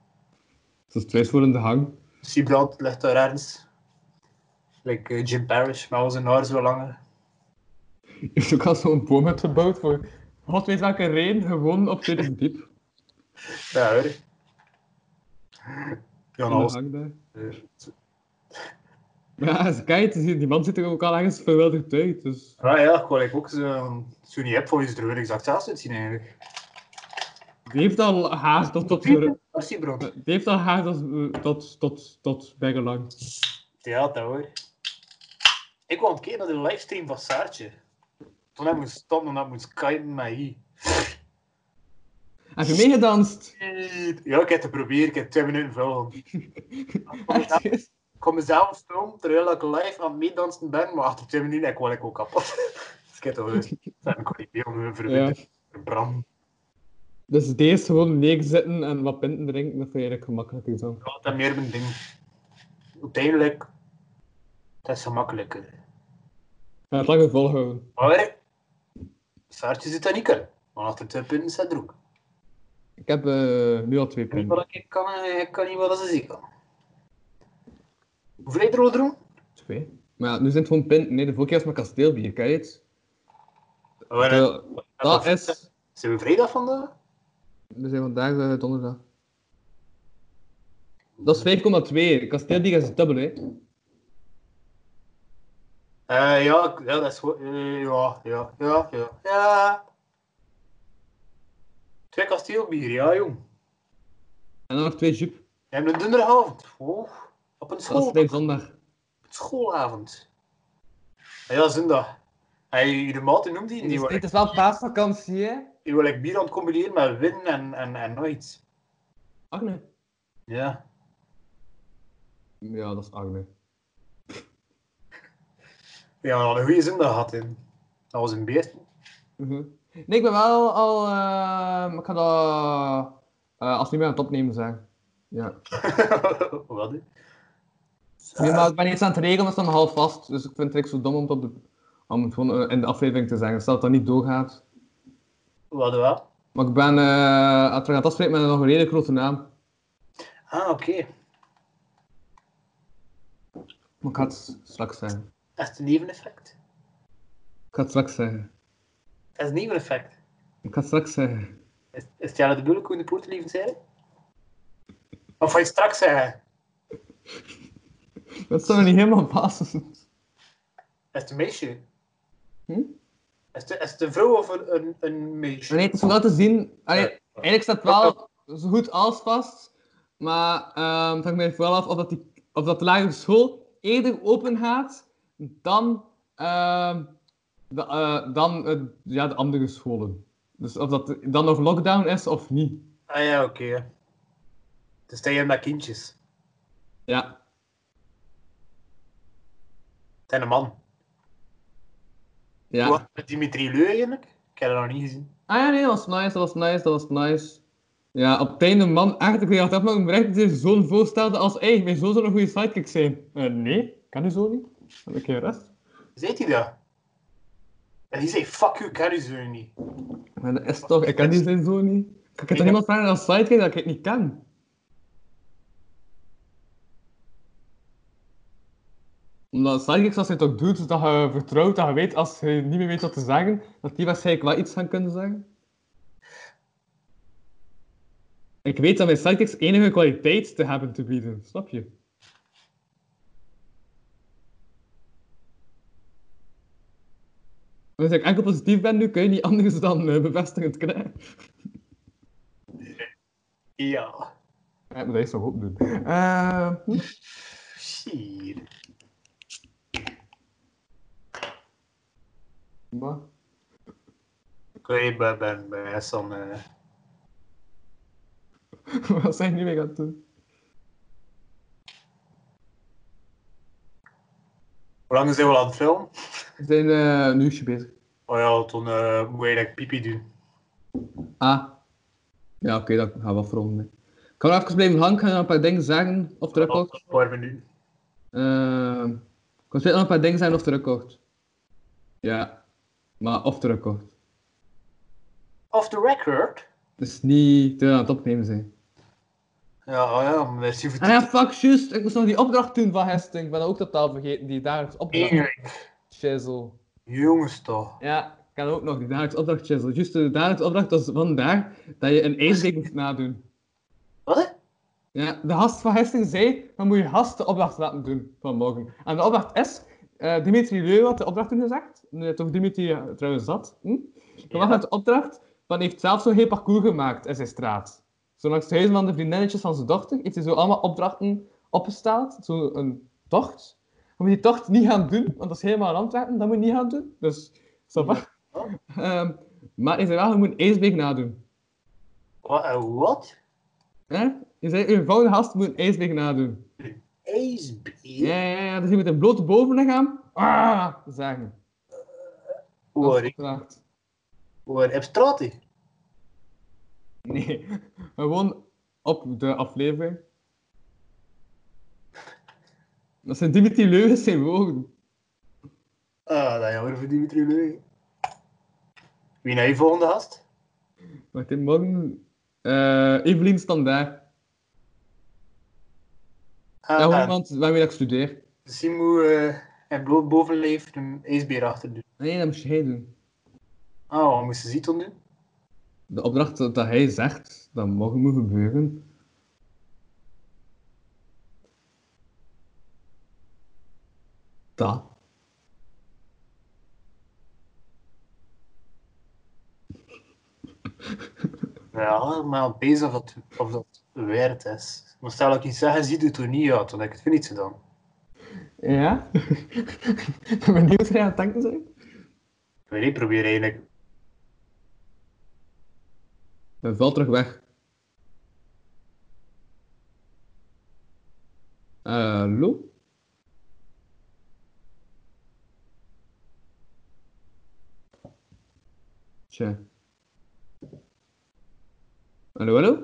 D: Zo'n struisvogel in de hang. [laughs]
C: Siebrand ligt daar ergens. Like eh, Jim Parrish, maar was een haar zo langer.
D: is ook al zo'n boom hebt gebouwd voor god weet welke reden, gewoon op dit diep.
C: Ja hoor. Ja, nou, was- eh,
D: Ja, als ik kijk, die man zit er ook al ergens verwilderd uit, dus...
C: ah, ja, ik wou like, ook zo'n zo niet heb voor je er exact zelfs uitzien eigenlijk.
D: Die heeft al haar tot, tot, die
C: Oh, Siebrand.
D: heeft al haar tot, tot, tot, tot bijgelang.
C: Ja, dat hoor. Ik kwam een keer naar de livestream van Saartje. Toen heb ik moest stoppen en dat moest skypen met i.
D: Heb je
C: [laughs]
D: meegedanst?
C: Ja, ik heb het geprobeerd, ik heb twee minuten
D: [laughs]
C: veel.
D: Echt? is-
C: Ik kon mezelf filmen terwijl ik live aan het meedansen ben, maar achter twee minuten ik word ik ook kapot. [laughs] dus ik heb toch dus, ik kon niet veel meer
D: Ja.
C: verwijderen. Bram.
D: Dus deze gewoon neerzitten en wat pinten drinken, dat vind je eigenlijk gemakkelijker zo.
C: Ja, dat is meer mijn ding. Uiteindelijk, dat is gemakkelijker.
D: Ja, het langer volhouden.
C: Maar, Saartje zit daar niet in. Want achter twee punten staat er ook.
D: Ik heb eh, nu al twee
C: Ik kan niet
D: punten.
C: wat ik kan, eh, ik kan niet wat ze ziek kan. Hoeveel heb je er al dronken?
D: Twee? Maar ja, nu zijn het gewoon pinten. Nee, de vorige keer was mijn kasteelbier, kijk het.
C: Oh, en-
D: Eh, dat is...
C: Zijn we vrijdag vandaag?
D: We zijn vandaag eh, donderdag. Dat is 5,2. Kasteeldiga is dubbel, hè?
C: Eh, ja, ik- ja, dat is goed. Eh, ja, ja, ja, ja, ja. Twee kasteelbier, ja, jong.
D: En dan nog twee jup.
C: En een donderdagavond. Oh, op een
D: Dat is
C: school,
D: bij zondag.
C: op een schoolavond. Ah ja, zondag. Hij, de maten noemde die
D: Het
C: niet,
D: is,
C: hoor.
D: wel paasvakantie, hè?
C: je wil like, bier aan het combineren met winnen en, en, en nooit.
D: Agne?
C: Ja.
D: Ja, dat is Agne.
C: Ja, we hadden een goede zondag gehad in. Dat was een beest. [laughs]
D: Mhm. Nee, ik ben wel al... ehm, ik ga dat... eh, als niet meer aan het opnemen zijn. Ja.
C: Wat? hè?
D: Nee, maar ik ben iets aan het regelen, dat is dan half vast. Dus ik vind het echt zo dom om het, op de, om het gewoon eh, in de aflevering te zeggen. Stel dat dat niet doorgaat.
C: Wat wel?
D: Maar ik ben, eh als we gaan afspreken, met nog een redelijk grote naam.
C: Ah, oké.
D: Maar ik ga het straks zeggen.
C: Echt een neveneffect.
D: Ik ga het straks zeggen.
C: Dat is een neveneffect.
D: Ik ga het straks zeggen.
C: Is, is het Jelle de Bulk in de poort liefde zijn? Of ga je straks zeggen?
D: Dat staat me niet helemaal vast.
C: Is het een meisje?
D: Hm?
C: Is het, is het een vrouw of een, een, een meisje?
D: Nee, het is om dat te zien. Allee, eigenlijk staat wel zo goed als vast. Maar ehm ik vraag me vooral af of dat, die, of dat de lagere school eerder open gaat dan, ehm, de, eh, dan eh, ja, de andere scholen. Dus of dat dan nog lockdown is of niet.
C: Ah ja, oké. Dus dat je met kindjes.
D: Ja,
C: Het is een man.
D: ja.
C: Wat? Met Dimitri Leu eigenlijk? Ik heb dat nog niet gezien.
D: Ah ja, nee, dat was nice, dat was nice, dat was nice. Ja, op het einde, man, echt, ik dacht dat maar een bericht die zo'n voorstelde als, hé, mijn zoon zou een goede sidekick zijn. Eh, nee, kan u zo niet. Dan heb ik geen rest.
C: Zet hij dat? En die zei, fuck you, ik ken die zo niet.
D: Maar dat is toch, ik ken die zijn zoon niet. Ik kan
C: Ik
D: toch iemand vragen als sidekick dat ik het niet ken? Omdat sidekicks, als je het ook doet, dat je vertrouwt, dat je weet, als je niet meer weet wat te zeggen, dat die waarschijnlijk wel iets gaan kunnen zeggen. Ik weet dat mijn sidekicks enige kwaliteit te hebben te bieden, snap je? Als ik enkel positief ben nu, kun je niet anders dan eh, bevestigend krijgen.
C: Ja.
D: Ja, maar dat is toch ook doen. Eh, [laughs] hm.
C: Shit.
D: Maar-
C: Ik weet bij, bij, bij Hassan... eh,
D: Wat zijn jullie mee gaan doen?
C: Hoe lang zijn we al aan het filmen?
D: We zijn eh een uurtje bezig.
C: Oh ja, toen eh moet je like, pipi doen.
D: Ah. Ja, oké, dan gaan we wel verronden. Ik kan nog even blijven hangen, ik ga nog een paar dingen zeggen of de
C: Dat
D: record.
C: was een paar minuten.
D: Ehm, ik kan nog een paar dingen zeggen of de record. Ja, maar of de record.
C: Off the record?
D: Het is niet te aan het opnemen zijn.
C: Ja, oh ja, merci voor
D: Ah ja, fuck, juist. Ik moest nog die opdracht doen van Hesting. Ik ben ook totaal vergeten, die dagelijks opdracht.
C: Eigenlijk.
D: Shizzle.
C: Jongens toch.
D: Ja, ik kan ook nog die dagelijks opdracht, Shizzle. Juist de dagelijks opdracht was vandaag dat je een ijsdek moest nadoen.
C: Wat hè?
D: Ja, de gast van gisteren zei, dan moet je gast de opdracht laten doen vanmorgen. En de opdracht is, eh, Dimitri Leu had de opdracht toen gezegd, nu toch Dimitri eh, trouwens zat. Hm? Dan was het de opdracht, van hij heeft zelf zo'n heel parcours gemaakt in zijn straat. Zo langs het huis van de vriendinnetjes van zijn dochter, heeft hij zo allemaal opdrachten opgesteld, zo'n tocht. Je moet die tocht niet gaan doen, want dat is helemaal aan Antwerpen, dat moet je niet gaan doen. Dus, ça va. Ehm, maar hij zei wel, je moet Eisbeek nadoen.
C: Wat? eh, Wat?
D: Hè? Hij zei, je volgende gast moet Eisbeek nadoen.
C: Acebeer?
D: Ja, ja, ja, dus je moet een blote bovenlichaam ah, zeggen.
C: Waar? hè?
D: Opdracht.
C: Waar? Op straat hè?
D: Nee, [laughs] gewoon op de aflevering. Dat zijn Dimitri Leugens zijn woorden.
C: Ah, dat jammer voor Dimitri Leu. Wie nou je volgende gast?
D: Wacht, hè, morgen... eh Evelien Standaard.
C: Ah,
D: Ja,
C: ah,
D: gewoon iemand waarmee ik studeer.
C: Simu eh en bloot bovenleef een ijsbeer achter doen.
D: Nee, dat moest hij doen.
C: Ah, wat moest ze zien toen doen?
D: De opdracht dat hij zegt, dat mag me gebeuren. Dat.
C: Ja, maar bezig of dat, of dat waard is. Maar stel dat ik iets zeg en ziet het er niet uit, dan heb ik het weer niet gedaan.
D: Ja? [laughs] ik ben benieuwd hoe jij aan het denken bent.
C: Ik weet niet, probeer eigenlijk
D: Mijn vuil terug weg. Hallo? Tja. Hallo, hallo?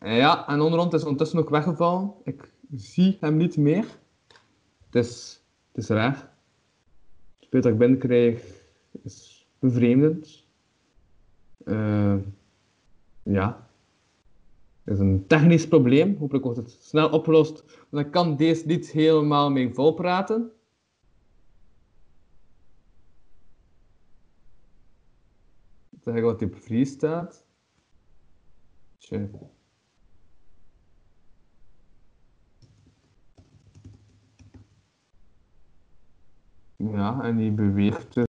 D: Ja, en onderhand is ondertussen ook weggevallen. Ik zie hem niet meer. Het is, het is raar. Het beeld dat ik binnenkrijg is bevreemdend. Eh, ja. Het is een technisch probleem. Hopelijk wordt het snel opgelost. Want ik kan deze niet helemaal mee volpraten. Zeg wat die op free staat. Tja. Ja, en die beweegt dus.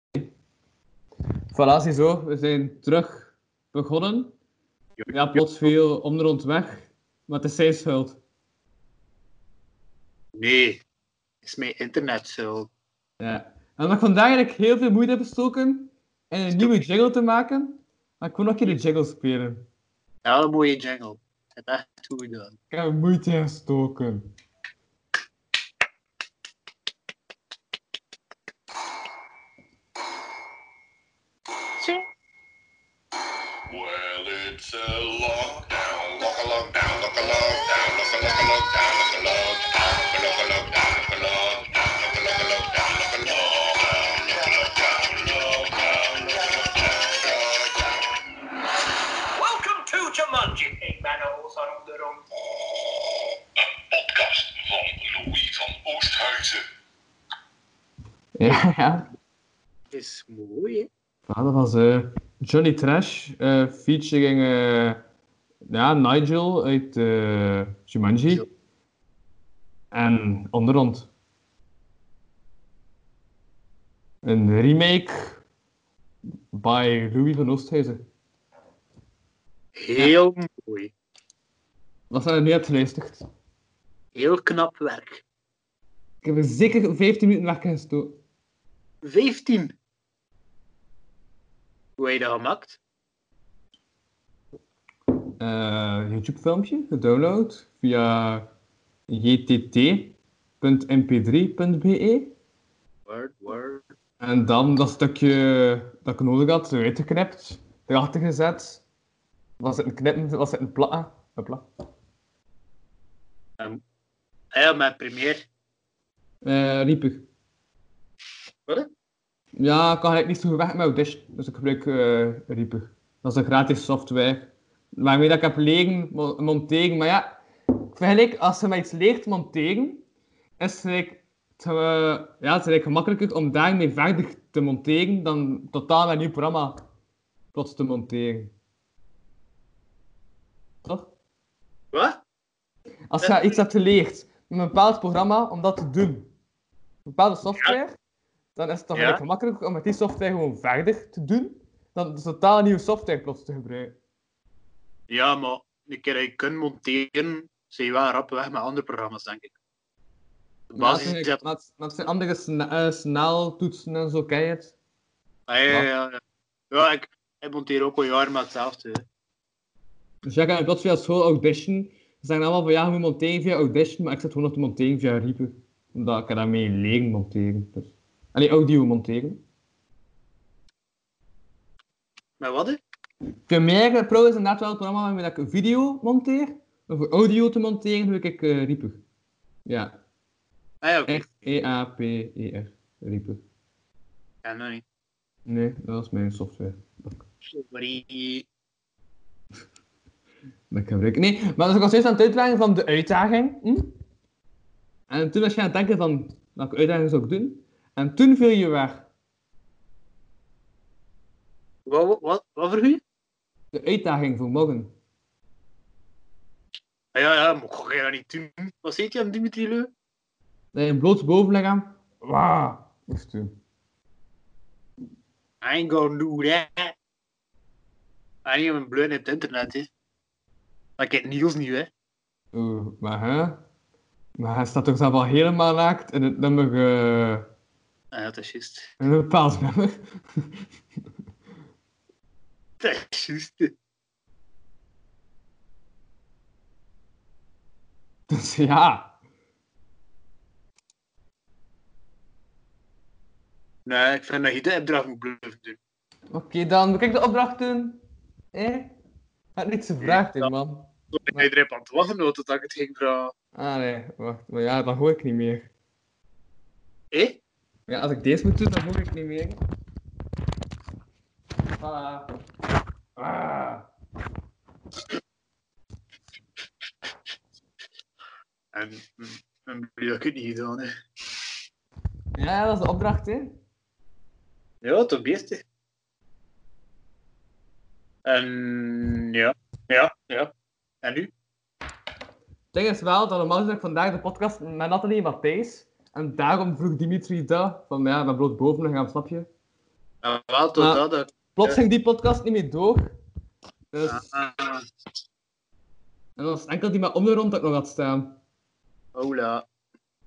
D: Voilà, zo, we zijn terug begonnen. Ja, plots viel om de rond weg, maar het is zijn schuld.
C: Nee, is mijn internet zo.
D: Ja. En omdat ik vandaag eigenlijk heel veel moeite heb gestoken in een nieuwe jingle te maken, maar ik wil nog een keer de jingle spelen.
C: Ja, een mooie jingle. Het heb echt goed gedaan.
D: Ik heb er moeite in gestoken.
A: Well, it's a lockdown, lock a lockdown, lock a lockdown, lock a lock a lockdown, lock a lockdown, lock a lock a lockdown, lock a lockdown, lock a lock a lockdown, lock a lockdown, lock a lockdown, lockdown, lockdown, lockdown.
B: Welcome to Jumanji. Ik ben een rozer op de rond.
A: Een podcast van Louis van Oosthuizen.
D: Ja, [laughs] ja.
C: Is mooi, hè?
D: Ja, dat was eh, Johnny Trash eh, featuring eh, ja, Nigel uit eh, Jumanji.
C: Zo.
D: En onderhand. Een remake by Louis van Oosthuizen.
C: Heel mooi.
D: Wat zijn er nu hebt geluisterd?
C: Heel knap werk.
D: Ik heb er zeker 15 minuten werk in gestoken.
C: 15. Hoe heb je dat gemaakt?
D: eh, YouTube-filmpje gedownload via jtt.mp3.be.
C: Word, word.
D: E. En dan dat stukje dat ik nodig had, eruit geknipt, erachter gezet. Was het een knippen, was het een plakken? Een plak.
C: Ah Ja, mijn premier.
D: Eh, Reaper.
C: Wat? hè?
D: Ja, ik kan eigenlijk niet zo goed weg met Audition, dus ik gebruik eh Reaper. Dat is een gratis software. Waarmee dat ik heb leren mo- monteren, maar ja, ik vind eigenlijk, als je mij iets leert monteren, is het eigenlijk, te- ja, het is eigenlijk gemakkelijker om daarmee verder te monteren dan totaal een nieuw programma plots te monteren. Toch?
C: Wat?
D: Als je iets hebt geleerd met een bepaald programma om dat te doen, een bepaalde software, dan is het toch
C: Ja.
D: eigenlijk makkelijker om met die software gewoon verder te doen dan de totaal nieuwe software plots te gebruiken.
C: Ja, maar een keer dat je kunt monteren, zijn je wel rap weg met andere programma's, denk ik. De
D: Maar
C: basis
D: het
C: is
D: zijn-
C: dat...
D: maar het- maar het zijn andere sna eh, sneltoetsen en zo, ken je het?
C: Ah, ja, ja, ja. Ja, ik, ik monteer ook al jaren maar hetzelfde. hè.
D: Dus jij gaat plots via school Audition. Ze zeggen allemaal van ja, je moet monteren via Audition, maar ik zit gewoon nog te monteren via Reaper. Omdat ik er daarmee leren monteren. Dus. Allee, audio monteren.
C: Maar wat, hè?
D: Premiere Pro is inderdaad wel het programma waarmee dat ik video monteer. Maar voor audio te monteren doe ik eh Reaper. Ja, E
C: Ah, ja, oké.
D: R-E-A-P-E-R. Reaper.
C: Ja, nee.
D: Nee, dat is mijn software. [laughs]
C: Sorry.
D: Dat ik gebruik. Nee, maar dat ik al steeds aan het uitleggen van de uitdaging. Hm? En toen was je aan het denken van welke uitdaging zou ik doen. En toen viel je weg.
C: Wat, wat, wat, wat voor u?
D: De uitdaging voor morgen.
C: Ah, ja, ja, maar ga je dat niet doen? Wat zit je aan Dimitri Leu?
D: Dat je een bloot bovenlichaam. Wauw. Moest doen.
C: I ain't gonna do that. Ah, nee, mijn bleun op het internet, hè. Maar ik heb Niels niet, hè.
D: Oeh, maar hè? Maar hij staat toch zelf al helemaal naakt in het nummer. eh,
C: [laughs]
D: [laughs]
C: Ah, ja, dat is juist.
D: in een bepaald nummer.
C: is juist. hè.
D: Dus ja.
C: Nee, ik vind dat je de opdracht moet blijven doen.
D: Oké, dan moet ik de opdracht doen. Eh? Ik had niks gevraagd, hè, man.
C: Ik ben iedereen aan het wachten hoor, totdat ik het ging vragen.
D: Ah nee, wacht. Maar ja, dan hoor ik niet meer.
C: Hé?
D: Ja, als ik deze moet doen, dan hoor ik niet meer. Voilà. Ah.
C: En, en heb je dat ook niet gedaan, hè?
D: Ja, dat is de opdracht, hè?
C: Ja, toch beest, hè? En ja, ja, ja. En nu?
D: Het ding is wel dat normaal gezien vandaag de podcast met Nathalie en Matthijs. En daarom vroeg Dimitri dat. Van ja, we bloot boven gaan, snap je?
C: Nou, wel, tot
D: Ah.
C: dat. dat-
D: Plots ging die podcast niet meer door. Dus,
C: Ah,
D: en dan was het enkel die met om de rond dat ik nog had staan.
C: hola.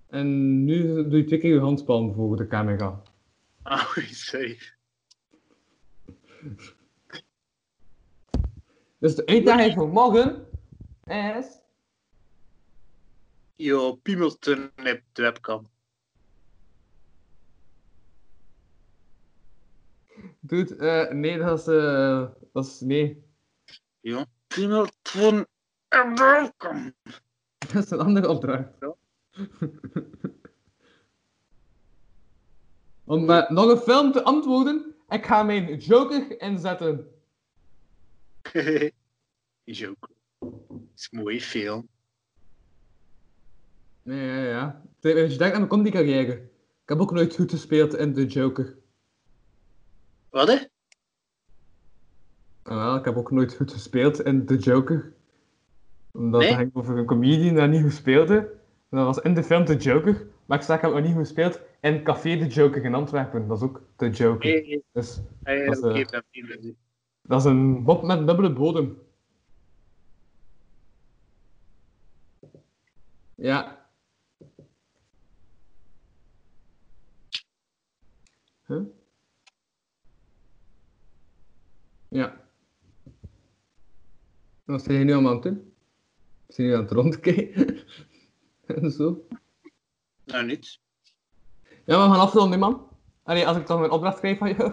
D: En nu doe je twee keer je handspalm voor de camera.
C: Ah, [laughs] oei, sorry.
D: Dus de uitdaging voor morgen is...
C: Yo, Piemelton op de webcam.
D: Dude, eh, nee, dat is... eh, dat is... Nee.
C: Yo, Piemelton op de webcam.
D: [laughs] Dat is een andere opdracht.
C: Ja.
D: [laughs] Om eh, nog een film te antwoorden, ik ga mijn Joker inzetten.
C: [laughs] is ook. Is een mooie film.
D: Nee, ja, ja. Tij- Als je denkt aan mijn comedycarrière. Ik heb ook nooit goed gespeeld in The Joker.
C: Wat hè?
D: Ah, wel, ik heb ook nooit goed gespeeld in The Joker. Omdat
C: Nee?
D: het ging over een comedian dat niet goed speelde. En dat was in de film The Joker. Maar ik zei, ik heb nog niet goed gespeeld in Café The Joker in Antwerpen. Dat is ook The Joker.
C: Nee, nee,
D: Dus
C: nee,
D: Dat is, eh,
C: oké, dat is-
D: dat is een bob met een dubbele bodem. Ja. Huh? Ja. Wat zijn je nu allemaal aan het doen? Zijn jullie aan het rondkijken? [laughs] en zo.
C: Nou, niets.
D: Ja, maar we gaan afronden, hè, man. Allee, als ik dan mijn opdracht krijg van jou.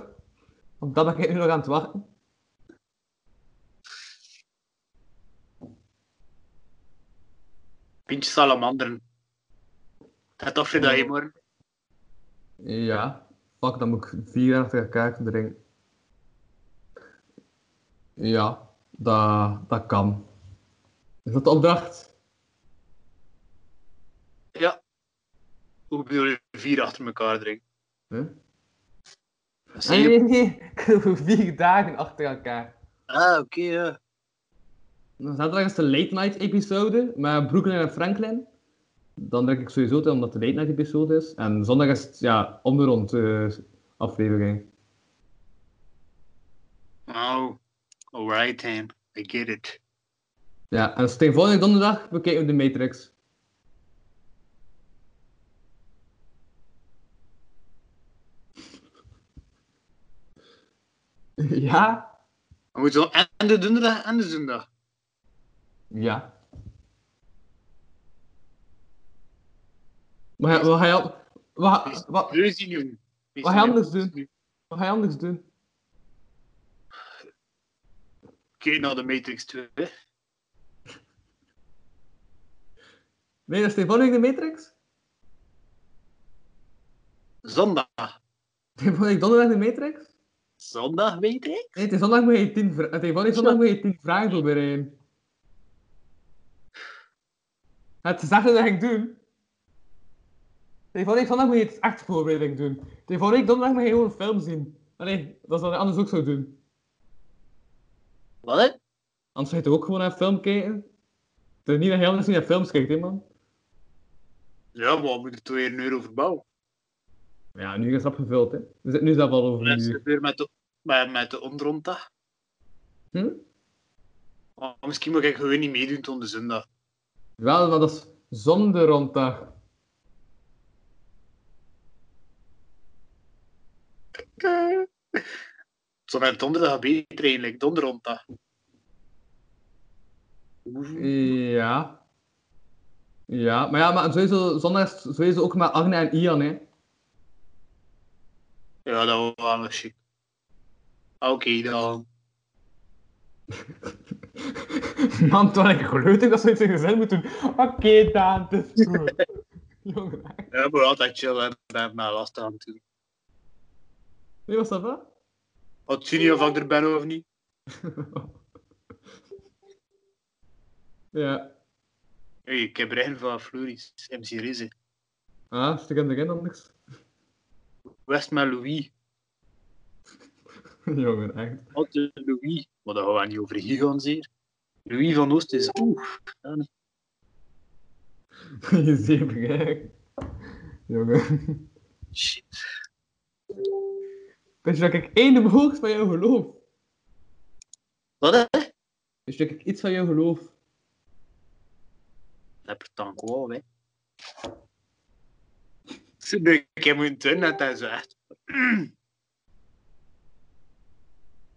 D: Op dat ben ik nu nog aan het wachten.
C: Pintje salamanderen. Dat toch dat je morgen.
D: Ja, fuck, dan moet ik vier achter elkaar drinken. Ja, dat, dat kan. Is dat de opdracht?
C: Ja. Hoe bedoel je vier achter elkaar drinken?
D: Huh?
C: Dat zie
D: Nee,
C: je-
D: nee, nee. [laughs] Ik doe vier dagen achter elkaar.
C: Ah, oké, ja.
D: Dan Zaterdag is de late night episode met Brooklyn en Franklin. Dan drink ik sowieso te, omdat het de late night episode is. En zondag is het, ja, om de rond eh, aflevering.
C: Oh, alright, Ham. I get it.
D: Ja, en steen volgende donderdag bekijken we de Matrix. Ja?
C: We moeten wel en de donderdag en de zondag.
D: Ja. Maar ja, wat ga je, al- wat, ga- Ah, wat,
C: Wees die nu. Wees
D: Wat
C: die
D: gaan
C: nu.
D: we dus doen? wat ga je anders doen?
C: Kijk naar de Matrix 2. hè.
D: Nee, dat is steen volgende de Matrix? [laughs]
C: Zondag.
D: Steen volgende donderdag de Matrix?
C: Zondag, Matrix?
D: Nee, het is zondag moet je tien, vra- het is volgende zondag moet je tien vragen voorbereiden. Het is dat ik doen. Tegen volgende zondag moet je het echt voorbereiding doen. Tegen volgende donderdag moet je gewoon een film zien. Allee, dat is wat ik anders ook zou doen.
C: Wat, hè?
D: Anders ga je toch ook gewoon naar een film kijken? Het is niet dat je anders niet naar films kijkt, hè man.
C: Ja, maar we moeten toch weer een euro verbouwen.
D: Ja, nu is dat gevuld, hè. We zitten nu zelf al over een
C: Mensen
D: uur.
C: weer met de, met, met de onderrondag.
D: Hm?
C: Oh, misschien mag ik gewoon niet meedoen tot de [laughs] zondag.
D: Wel, maar dat is zonder ronddag.
C: Het Zo met donderdag beter eigenlijk, donderdag.
D: Ja. Ja, maar ja, maar sowieso, zondag is het sowieso ook met Arne en Ian, hè. [laughs]
C: Ja, dat was wel shit. Ah, Oké, dan.
D: Man, toen ik geluid dat ze iets in gezin moeten doen. Oké, Daan, het is goed. Jongen,
C: Ja, maar wel altijd chill en daarna last aan toe.
D: nee, was dat wel?
C: Wat zie je of ik er ben of niet?
D: [laughs] Ja.
C: Hey, ik heb regen van Floris, MC Rizzi.
D: Ah, stuk in begin anders.
C: West met Louis.
D: [laughs] Jongen, echt.
C: Wat de Louis? Maar daar gaan we niet over hier gaan, zeer. Louis van Oost is oeh. ja, nee.
D: Je zeepig, hè. Jongen.
C: Shit.
D: Weet je Dus dat ik één hoogst van jou geloof?
C: Wat hè?
D: Weet je dat ik iets van jou geloof?
C: Dat per tank wel, hè. Ze doen een keer moeten doen, dat is echt. [clears throat]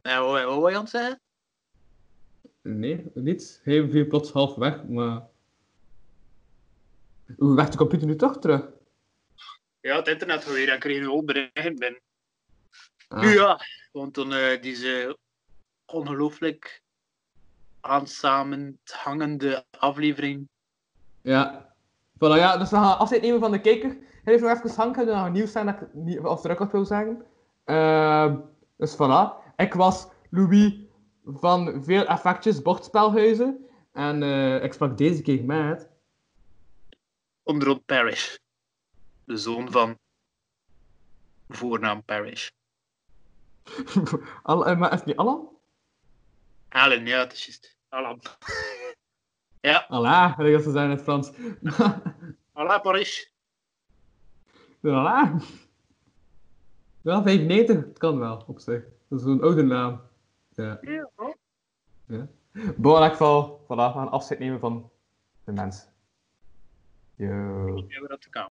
C: En wat wat wil je aan het zeggen?
D: Nee, niets. Hij viel plots half weg, maar... Hoe werkt de computer nu toch terug?
C: Ja, het internet gewoon weer, dan kreeg je ook berichten binnen.
D: Ah.
C: Nu ja, want dan eh, deze ongelooflijk aansamend hangende aflevering.
D: Ja. Voilà, ja, dus we gaan afscheid nemen van de kijker. Hij heeft nog even hangen, dan gaan we nieuws zijn dat ik niet of terug wil zeggen. Ehm, dus voilà. Ik was Louis van Veel Effectjes Bordspelhuizen. En eh, ik sprak deze keer met... [laughs]
C: Onderop Parrish. De zoon van voornaam Parrish.
D: Al, eh, maar is het niet Alan?
C: Alan, ja, het is juist. Alan. ja,
D: Alla, ik dat ze zijn in het Frans. [laughs]
C: Alan Parrish.
D: Alla. ah. Wel, 95, het kan wel, op zich. Dat is een oude naam. Ja.
C: Ja, hoor.
D: Belangrijk geval, voilà, we gaan afscheid nemen van de mens. Yo.
C: Ja, we dat te kamer.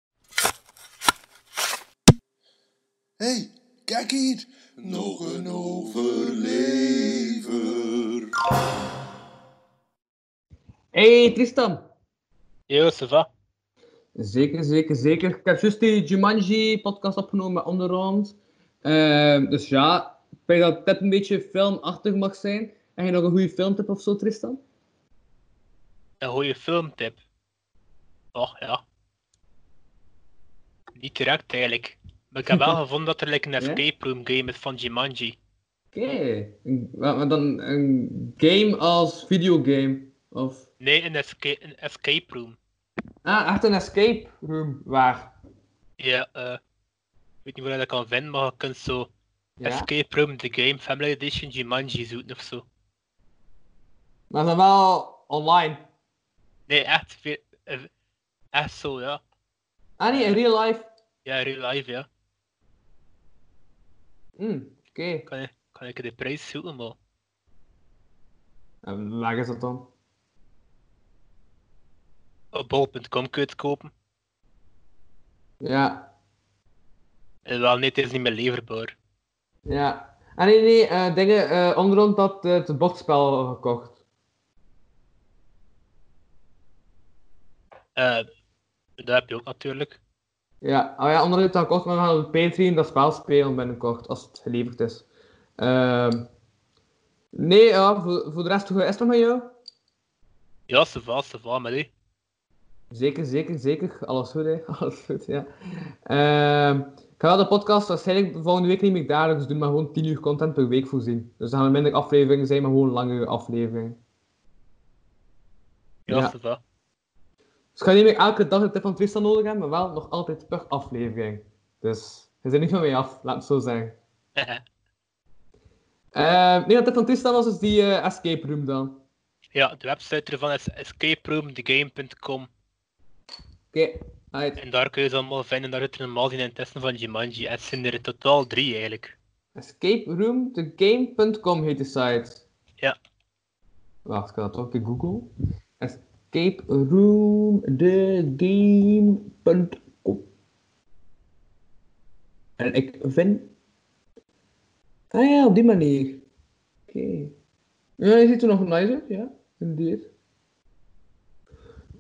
A: Hey, kijk hier. Nog een overlever.
D: Hey Tristan.
C: Yo, ça va?
D: Zeker, zeker, zeker. Ik heb juist die Jumanji-podcast opgenomen met Onderhand. Ehm dus ja, ik denk dat dit een beetje filmachtig mag zijn. Heb je nog een goede filmtip of zo, Tristan?
E: Een goede filmtip. Och ja. Niet direct eigenlijk. Maar ik heb
D: [laughs]
E: wel gevonden dat er like, een
D: Ja?
E: escape room game is van Jumanji.
D: Oké. Een- wa- Maar dan een game als videogame? Of...
E: Nee, een, esca een escape room.
D: Ah, echt een escape room. Waar?
E: Ja, eh. Ik weet niet waar je dat kan vinden, maar je kunt zo
D: Ja.
E: escape room, the game, family edition, Jumanji zoeken of zo.
D: Maar dan wel online.
E: Nee, echt, ve- eh, echt zo, ja.
D: Ah nee, in real life.
E: Ja, real life, ja.
D: Hm, Oké.
E: Kan, ik- kan ik de prijs zoeken, maar...
D: En Waar is dat dan?
E: Op bol.com kun je het kopen.
D: Ja,
E: En wel, nee, het is niet meer leverbaar.
D: ja. Ah nee, nee, eh, dingen, eh onderhand had eh, het bordspel gekocht.
E: Eh, dat heb je ook natuurlijk.
D: Ja, oh ja, onderhand heeft dat gekocht, maar we gaan op Patreon dat spel spelen binnenkort, als het geleverd is. Ehm, nee, ja, voor, voor de rest, hoe is het nog met jou?
E: Ja, ze va, ze va, maar die.
D: Zeker, zeker, zeker. Alles goed, hè. [laughs] Alles goed, ja. Ehm, ik ga wel de podcast waarschijnlijk volgende week niet meer dagelijks doen, maar gewoon 10 uur content per week voorzien. Dus er gaan er minder afleveringen zijn, maar gewoon langere afleveringen.
E: Ja,
D: Ja.
E: ze va. [laughs]
D: Dus ik ga niet meer elke dag een tip van Tristan nodig hebben, maar wel nog altijd per aflevering. Dus je zit niet van mij af, laat het zo zeggen. Ehm, nee, dat tip van Tristan was dus die eh, escape room dan. Oké,
E: ja, de website ervan is escaperoomthegame.com.
D: uit.
E: En daar kun je ze allemaal vinden. Daar zitten normaal zien in testen van Jumanji. En het zijn er in totaal drie eigenlijk.
D: Escape room, thegame.com heet de site.
E: Ja.
D: Wacht, ik ga dat ook in Google. Escape room, thegame.com. En ik vind Ah ja, op die manier. Oké. Ja, je ziet er nog een nice uit, ja. Indeed.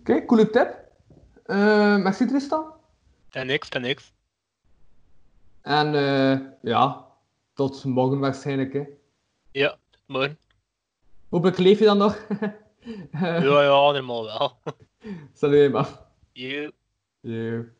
D: Oké, coole tip. Eh merci Tristan.
E: Ten niks, ten niks.
D: En eh, ja, tot morgen waarschijnlijk. Hè.
E: Ja, tot morgen.
D: Hopelijk leef je dan nog. [laughs] Eh,
E: Ja, ja, normaal wel. [laughs]
D: Salut, man.
E: You.
D: Yo.